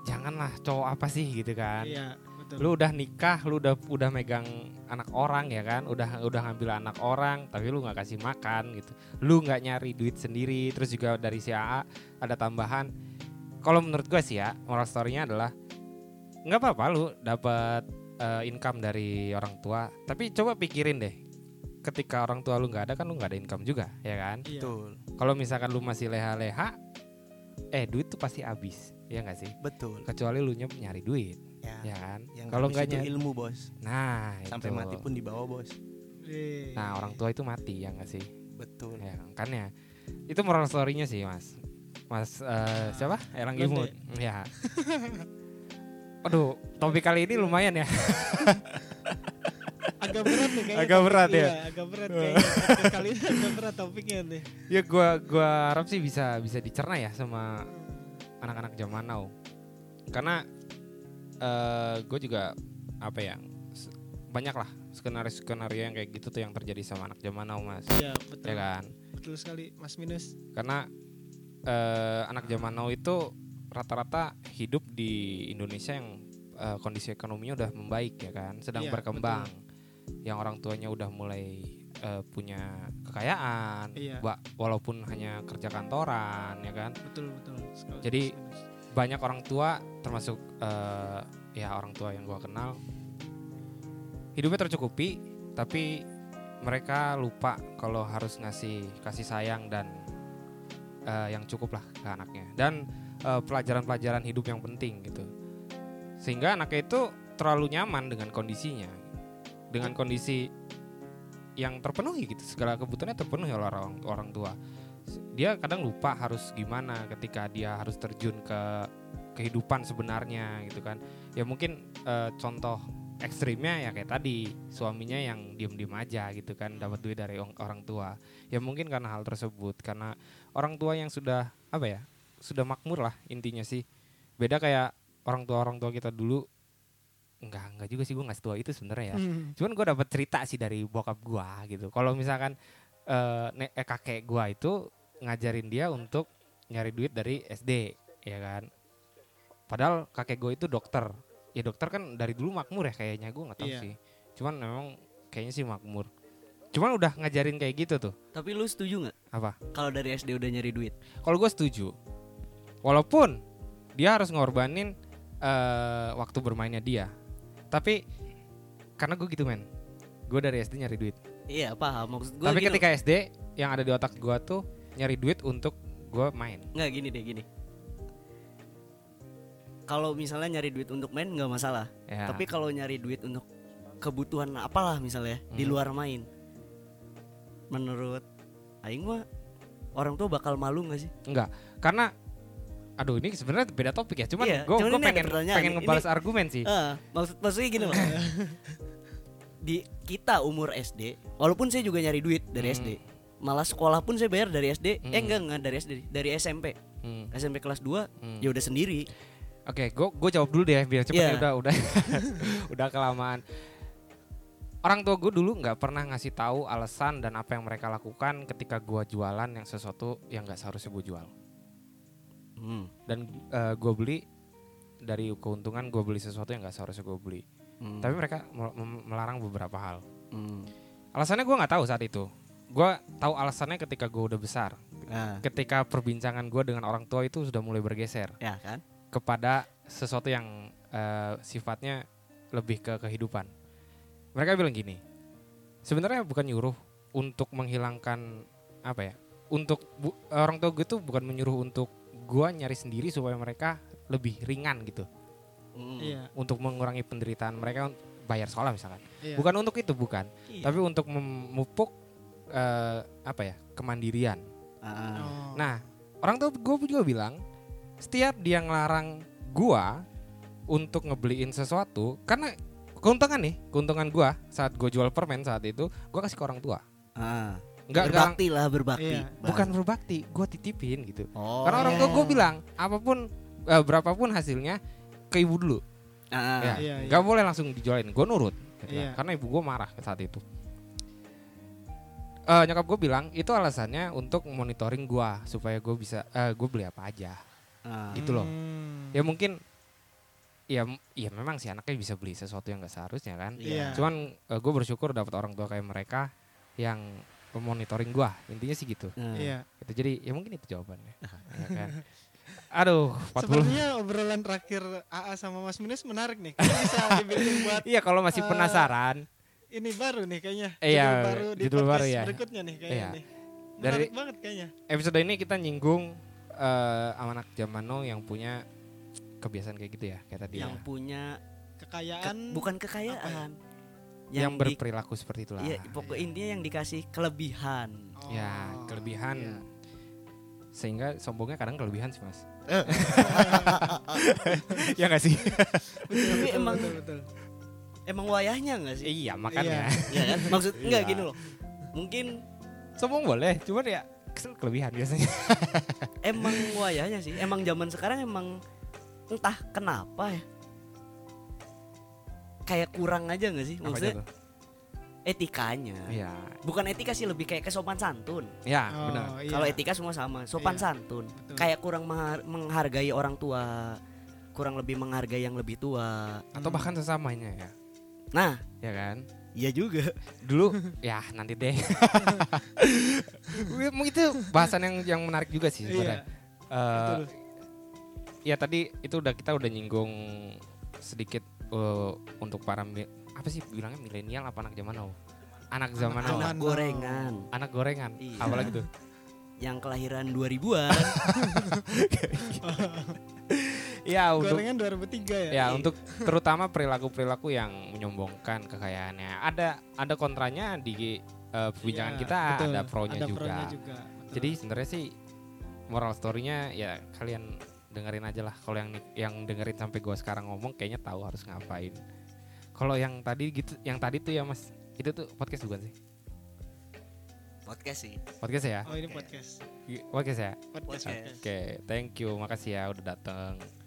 Speaker 1: janganlah cowok apa sih gitu kan.
Speaker 2: iya betul.
Speaker 1: Lu udah nikah, lu udah udah megang anak orang ya kan, udah udah ngambil anak orang, tapi lu nggak kasih makan gitu. Lu nggak nyari duit sendiri, terus juga dari si AA ada tambahan. Kalau menurut gue sih ya, moral story-nya adalah nggak apa-apa lu dapat eh, income dari orang tua, tapi coba pikirin deh. Ketika orang tua lu nggak ada kan lu nggak ada income juga, ya kan?
Speaker 2: Iya.
Speaker 4: betul
Speaker 1: Kalau misalkan lu masih leha-leha, eh duit tuh pasti habis, ya nggak sih?
Speaker 4: betul
Speaker 1: Kecuali lu nyep- nyari duit,
Speaker 4: ya,
Speaker 1: ya kan?
Speaker 4: yang
Speaker 1: Kalau
Speaker 4: habis
Speaker 1: nggak
Speaker 4: itu
Speaker 1: nyari
Speaker 4: ilmu bos
Speaker 1: Nah,
Speaker 4: sampai
Speaker 1: itu.
Speaker 4: mati pun dibawa bos
Speaker 2: Iya.
Speaker 1: Nah, orang tua itu mati ya nggak sih?
Speaker 4: betul
Speaker 1: Ya, kan ya. Itu moral story-nya sih, Mas. Mas eh,
Speaker 4: Ah,
Speaker 1: siapa? Erlang Gimut. Ya. Aduh, topik kali ini lumayan ya.
Speaker 2: agak berat nih kayaknya.
Speaker 1: Agak
Speaker 2: topik-
Speaker 1: berat ya?
Speaker 2: iya, agak berat kayaknya. Kali ini agak berat topiknya nih.
Speaker 1: ya gua gua harap sih bisa bisa dicerna ya sama anak-anak zaman now. Karena eh gue juga apa ya? s- Banyak lah skenario-skenario yang kayak gitu tuh yang terjadi sama anak zaman now, Mas.
Speaker 2: Iya betul.
Speaker 1: Ya kan?
Speaker 2: Betul sekali Mas Minus.
Speaker 1: karena eh, anak zaman now itu rata-rata hidup di Indonesia yang eh, kondisi ekonominya udah membaik ya kan, sedang
Speaker 2: Iya,
Speaker 1: berkembang. Yang orang tuanya udah mulai eh, punya kekayaan,
Speaker 2: Iya.
Speaker 1: wa- walaupun hanya kerja kantoran ya kan.
Speaker 2: Betul betul sekali.
Speaker 1: Jadi-
Speaker 2: Mas Minus.
Speaker 1: Banyak orang tua termasuk eh, ya orang tua yang gua kenal hidupnya tercukupi tapi mereka lupa kalau harus ngasih kasih sayang dan eh, yang cukup lah ke anaknya dan eh, pelajaran-pelajaran hidup yang penting gitu sehingga anaknya itu terlalu nyaman dengan kondisinya dengan kondisi yang terpenuhi gitu segala kebutuhannya terpenuhi oleh orang orang tua dia kadang lupa harus gimana ketika dia harus terjun ke kehidupan sebenarnya gitu kan ya mungkin eh, contoh ekstrimnya ya kayak tadi suaminya yang diem-diem aja gitu kan dapat duit dari ong- orang tua ya mungkin karena hal tersebut karena orang tua yang sudah apa ya sudah makmur lah intinya sih beda kayak orang tua orang tua kita dulu enggak enggak juga sih gue nggak setua itu sebenarnya ya
Speaker 2: Hmm.
Speaker 1: cuman gue dapat cerita sih dari bokap gue gitu kalau misalkan eh, ne- eh, kakek gue itu ngajarin dia untuk nyari duit dari SD ya kan padahal kakek gue itu dokter ya dokter kan dari dulu makmur ya kayaknya gue nggak tahu
Speaker 2: Iya.
Speaker 1: sih cuman memang kayaknya sih makmur cuman udah ngajarin kayak gitu tuh
Speaker 3: Tapi lu setuju nggak
Speaker 1: apa
Speaker 3: kalau dari SD udah nyari duit?
Speaker 1: kalau gue setuju walaupun dia harus ngorbanin eh, waktu bermainnya dia tapi karena gue gitu men gue dari SD nyari duit
Speaker 3: Iya paham maksud gue.
Speaker 1: tapi ketika SD yang ada di otak gua tuh nyari duit untuk gua main.
Speaker 3: nggak gini deh gini. Kalau misalnya nyari duit untuk main nggak masalah.
Speaker 1: Ya.
Speaker 3: Tapi kalau nyari duit untuk kebutuhan apalah misalnya di
Speaker 1: Hmm.
Speaker 3: luar main, menurut Aing mah orang tua bakal malu nggak sih?
Speaker 1: enggak, karena aduh ini sebenarnya beda topik ya. Cuman
Speaker 3: Iya,
Speaker 1: gua
Speaker 3: cuman
Speaker 1: gua
Speaker 3: ini ada
Speaker 1: pengen
Speaker 3: pertanyaan.
Speaker 1: pengen
Speaker 3: Ini-
Speaker 1: ngebalas argumen sih.
Speaker 3: Eh, maksud maksudnya gini loh. di kita umur SD, walaupun saya juga nyari duit dari
Speaker 1: Hmm.
Speaker 3: SD, malah sekolah pun saya bayar dari SD. Eh
Speaker 1: Hmm.
Speaker 3: enggak enggak dari SD, dari SMP.
Speaker 1: Hmm,
Speaker 3: SMP kelas 2
Speaker 1: hmm.
Speaker 3: ya udah sendiri.
Speaker 1: Oke, gua gua jawab dulu deh biar cepet ya,
Speaker 3: Iya.
Speaker 1: udah udah (laughs) udah kelamaan. Orang tua gue dulu nggak pernah ngasih tahu alasan dan apa yang mereka lakukan ketika gua jualan yang sesuatu yang nggak seharusnya gue jual.
Speaker 3: Hmm.
Speaker 1: Dan gue beli dari keuntungan gue beli sesuatu yang nggak seharusnya gue beli.
Speaker 3: Hmm.
Speaker 1: Tapi mereka mel- mem- melarang beberapa hal.
Speaker 3: Hmm.
Speaker 1: Alasannya gue nggak tahu saat itu. gua tahu alasannya ketika gua udah besar
Speaker 3: Nah,
Speaker 1: ketika perbincangan gua dengan orang tua itu sudah mulai bergeser
Speaker 3: ya kan?
Speaker 1: kepada sesuatu yang eh, sifatnya lebih ke kehidupan. Mereka bilang gini, sebenarnya bukan nyuruh untuk menghilangkan apa ya? Untuk bu- orang tua gue tuh bukan menyuruh untuk gua nyari sendiri supaya mereka lebih ringan gitu,
Speaker 2: (coughs)
Speaker 3: Hmm.
Speaker 2: Iya,
Speaker 1: untuk mengurangi penderitaan mereka un- bayar sekolah misalkan.
Speaker 2: iya.
Speaker 1: Bukan untuk itu bukan,
Speaker 3: Iya.
Speaker 1: tapi untuk memupuk eh, apa ya? kemandirian.
Speaker 3: Ah,
Speaker 2: Oh.
Speaker 1: Nah, orang tua gue juga bilang, setiap dia ngelarang gua untuk ngebeliin sesuatu, karena keuntungan nih, keuntungan gua saat gue jual permen saat itu, gua kasih ke orang tua.
Speaker 3: ah.
Speaker 1: Enggak, enggak
Speaker 3: berbakti lah berbakti.
Speaker 2: Iya.
Speaker 1: bukan berbakti, gua titipin gitu.
Speaker 3: Oh.
Speaker 1: karena orang tua
Speaker 2: iya.
Speaker 1: gue bilang, apapun eh, berapapun hasilnya ke ibu dulu. ya,
Speaker 3: Ah,
Speaker 2: Iya, iya.
Speaker 1: nggak boleh langsung dijualin. Gue nurut, gitu kan.
Speaker 2: Iya.
Speaker 1: karena ibu gue marah saat itu. Eh, nyokap gue bilang itu alasannya untuk monitoring gua supaya gue bisa gue beli apa aja
Speaker 3: ah.
Speaker 1: gitu loh.
Speaker 2: Hmm.
Speaker 1: ya mungkin ya m- ya memang sih anaknya bisa beli sesuatu yang gak seharusnya kan
Speaker 2: Iya.
Speaker 1: cuman gue bersyukur dapat orang tua kayak mereka yang monitoring gua intinya sih gitu
Speaker 3: Ah.
Speaker 2: Iya.
Speaker 1: itu jadi ya mungkin itu
Speaker 2: (laughs)
Speaker 1: jawabannya ya kan? aduh 40
Speaker 2: Sepertinya obrolan terakhir AA sama Mas Minus menarik nih. Kayaknya bisa dibikin buat
Speaker 1: (laughs) iya kalau masih
Speaker 2: Eh,
Speaker 1: penasaran
Speaker 2: ini baru nih kayaknya.
Speaker 1: Iya,
Speaker 2: Judul baru di
Speaker 1: judul
Speaker 2: podcast
Speaker 1: baru ya.
Speaker 2: berikutnya nih kayaknya
Speaker 1: Iya.
Speaker 2: nih.
Speaker 1: Dari-
Speaker 2: Menarik banget kayaknya.
Speaker 1: episode ini kita nyinggung eh, anak zaman now yang punya kebiasaan kayak gitu ya kayak tadi ya.
Speaker 3: Yang punya ke-
Speaker 2: Kekayaan
Speaker 3: bukan kekayaan.
Speaker 1: yang,
Speaker 3: di-
Speaker 1: berperilaku seperti itulah
Speaker 3: Iya, pokok intinya yang dikasih kelebihan.
Speaker 2: Oh,
Speaker 1: ya kelebihan
Speaker 2: iya.
Speaker 1: sehingga sombongnya kadang kelebihan sih mas
Speaker 3: Eh.
Speaker 1: (laughs) ya nggak sih
Speaker 3: (laughs)
Speaker 2: Betul,
Speaker 3: Tapi
Speaker 2: betul,
Speaker 3: emang-
Speaker 2: betul, betul.
Speaker 3: Emang wayahnya enggak sih?
Speaker 1: iya makanya
Speaker 3: Iya kan? Maksud enggak
Speaker 1: Iya.
Speaker 3: gini loh. Mungkin
Speaker 1: sombong boleh cuman ya kesel kelebihan biasanya
Speaker 3: emang wayahnya sih. Emang zaman sekarang emang entah kenapa ya. Kayak kurang aja enggak Iya sih?
Speaker 1: Apa aja
Speaker 3: Maksudnya
Speaker 1: tuh?
Speaker 3: etikanya.
Speaker 1: iya
Speaker 3: Bukan etika sih lebih kayak kesopan santun.
Speaker 1: ya
Speaker 2: Oh,
Speaker 1: benar
Speaker 2: iya.
Speaker 3: Kalau etika semua sama, sopan
Speaker 2: Iya.
Speaker 3: santun.
Speaker 2: Betul.
Speaker 3: Kayak kurang menghar- menghargai orang tua, kurang lebih menghargai yang lebih tua.
Speaker 1: atau bahkan sesamanya ya
Speaker 3: Nah,
Speaker 1: ya kan
Speaker 3: iya juga.
Speaker 1: dulu
Speaker 3: (laughs)
Speaker 1: ya nanti deh itu bahasan yang yang menarik juga sih
Speaker 2: Iya.
Speaker 1: sebenarnya Eh, ya tadi itu udah kita udah nyinggung sedikit eh, untuk para mi- apa sih bilangnya milenial apa anak zaman now anak zaman now
Speaker 3: Anak
Speaker 2: Anak
Speaker 3: gorengan
Speaker 1: anak gorengan
Speaker 3: Iya.
Speaker 1: apalagi
Speaker 2: (laughs)
Speaker 1: tuh
Speaker 3: yang kelahiran 2000-an.
Speaker 1: ya untuk
Speaker 2: Gorengan 2003 ya.
Speaker 1: ya untuk terutama perilaku perilaku yang menyombongkan kekayaannya ada ada kontranya di eh, perbincangan
Speaker 2: Iya,
Speaker 1: kita
Speaker 2: betul.
Speaker 1: ada pronya
Speaker 2: Ada
Speaker 1: juga
Speaker 2: pronya juga. betul.
Speaker 1: jadi sebenarnya sih moral story-nya ya kalian dengerin aja lah kalau yang yang dengerin sampai gua sekarang ngomong kayaknya tahu harus ngapain kalau yang tadi gitu yang tadi tuh ya mas itu tuh podcast bukan sih
Speaker 3: Podcast sih.
Speaker 1: podcast ya
Speaker 2: oh ini podcast.
Speaker 1: podcast ya
Speaker 2: Podcast.
Speaker 3: Podcast.
Speaker 2: podcast.
Speaker 1: oke thank you makasih ya udah datang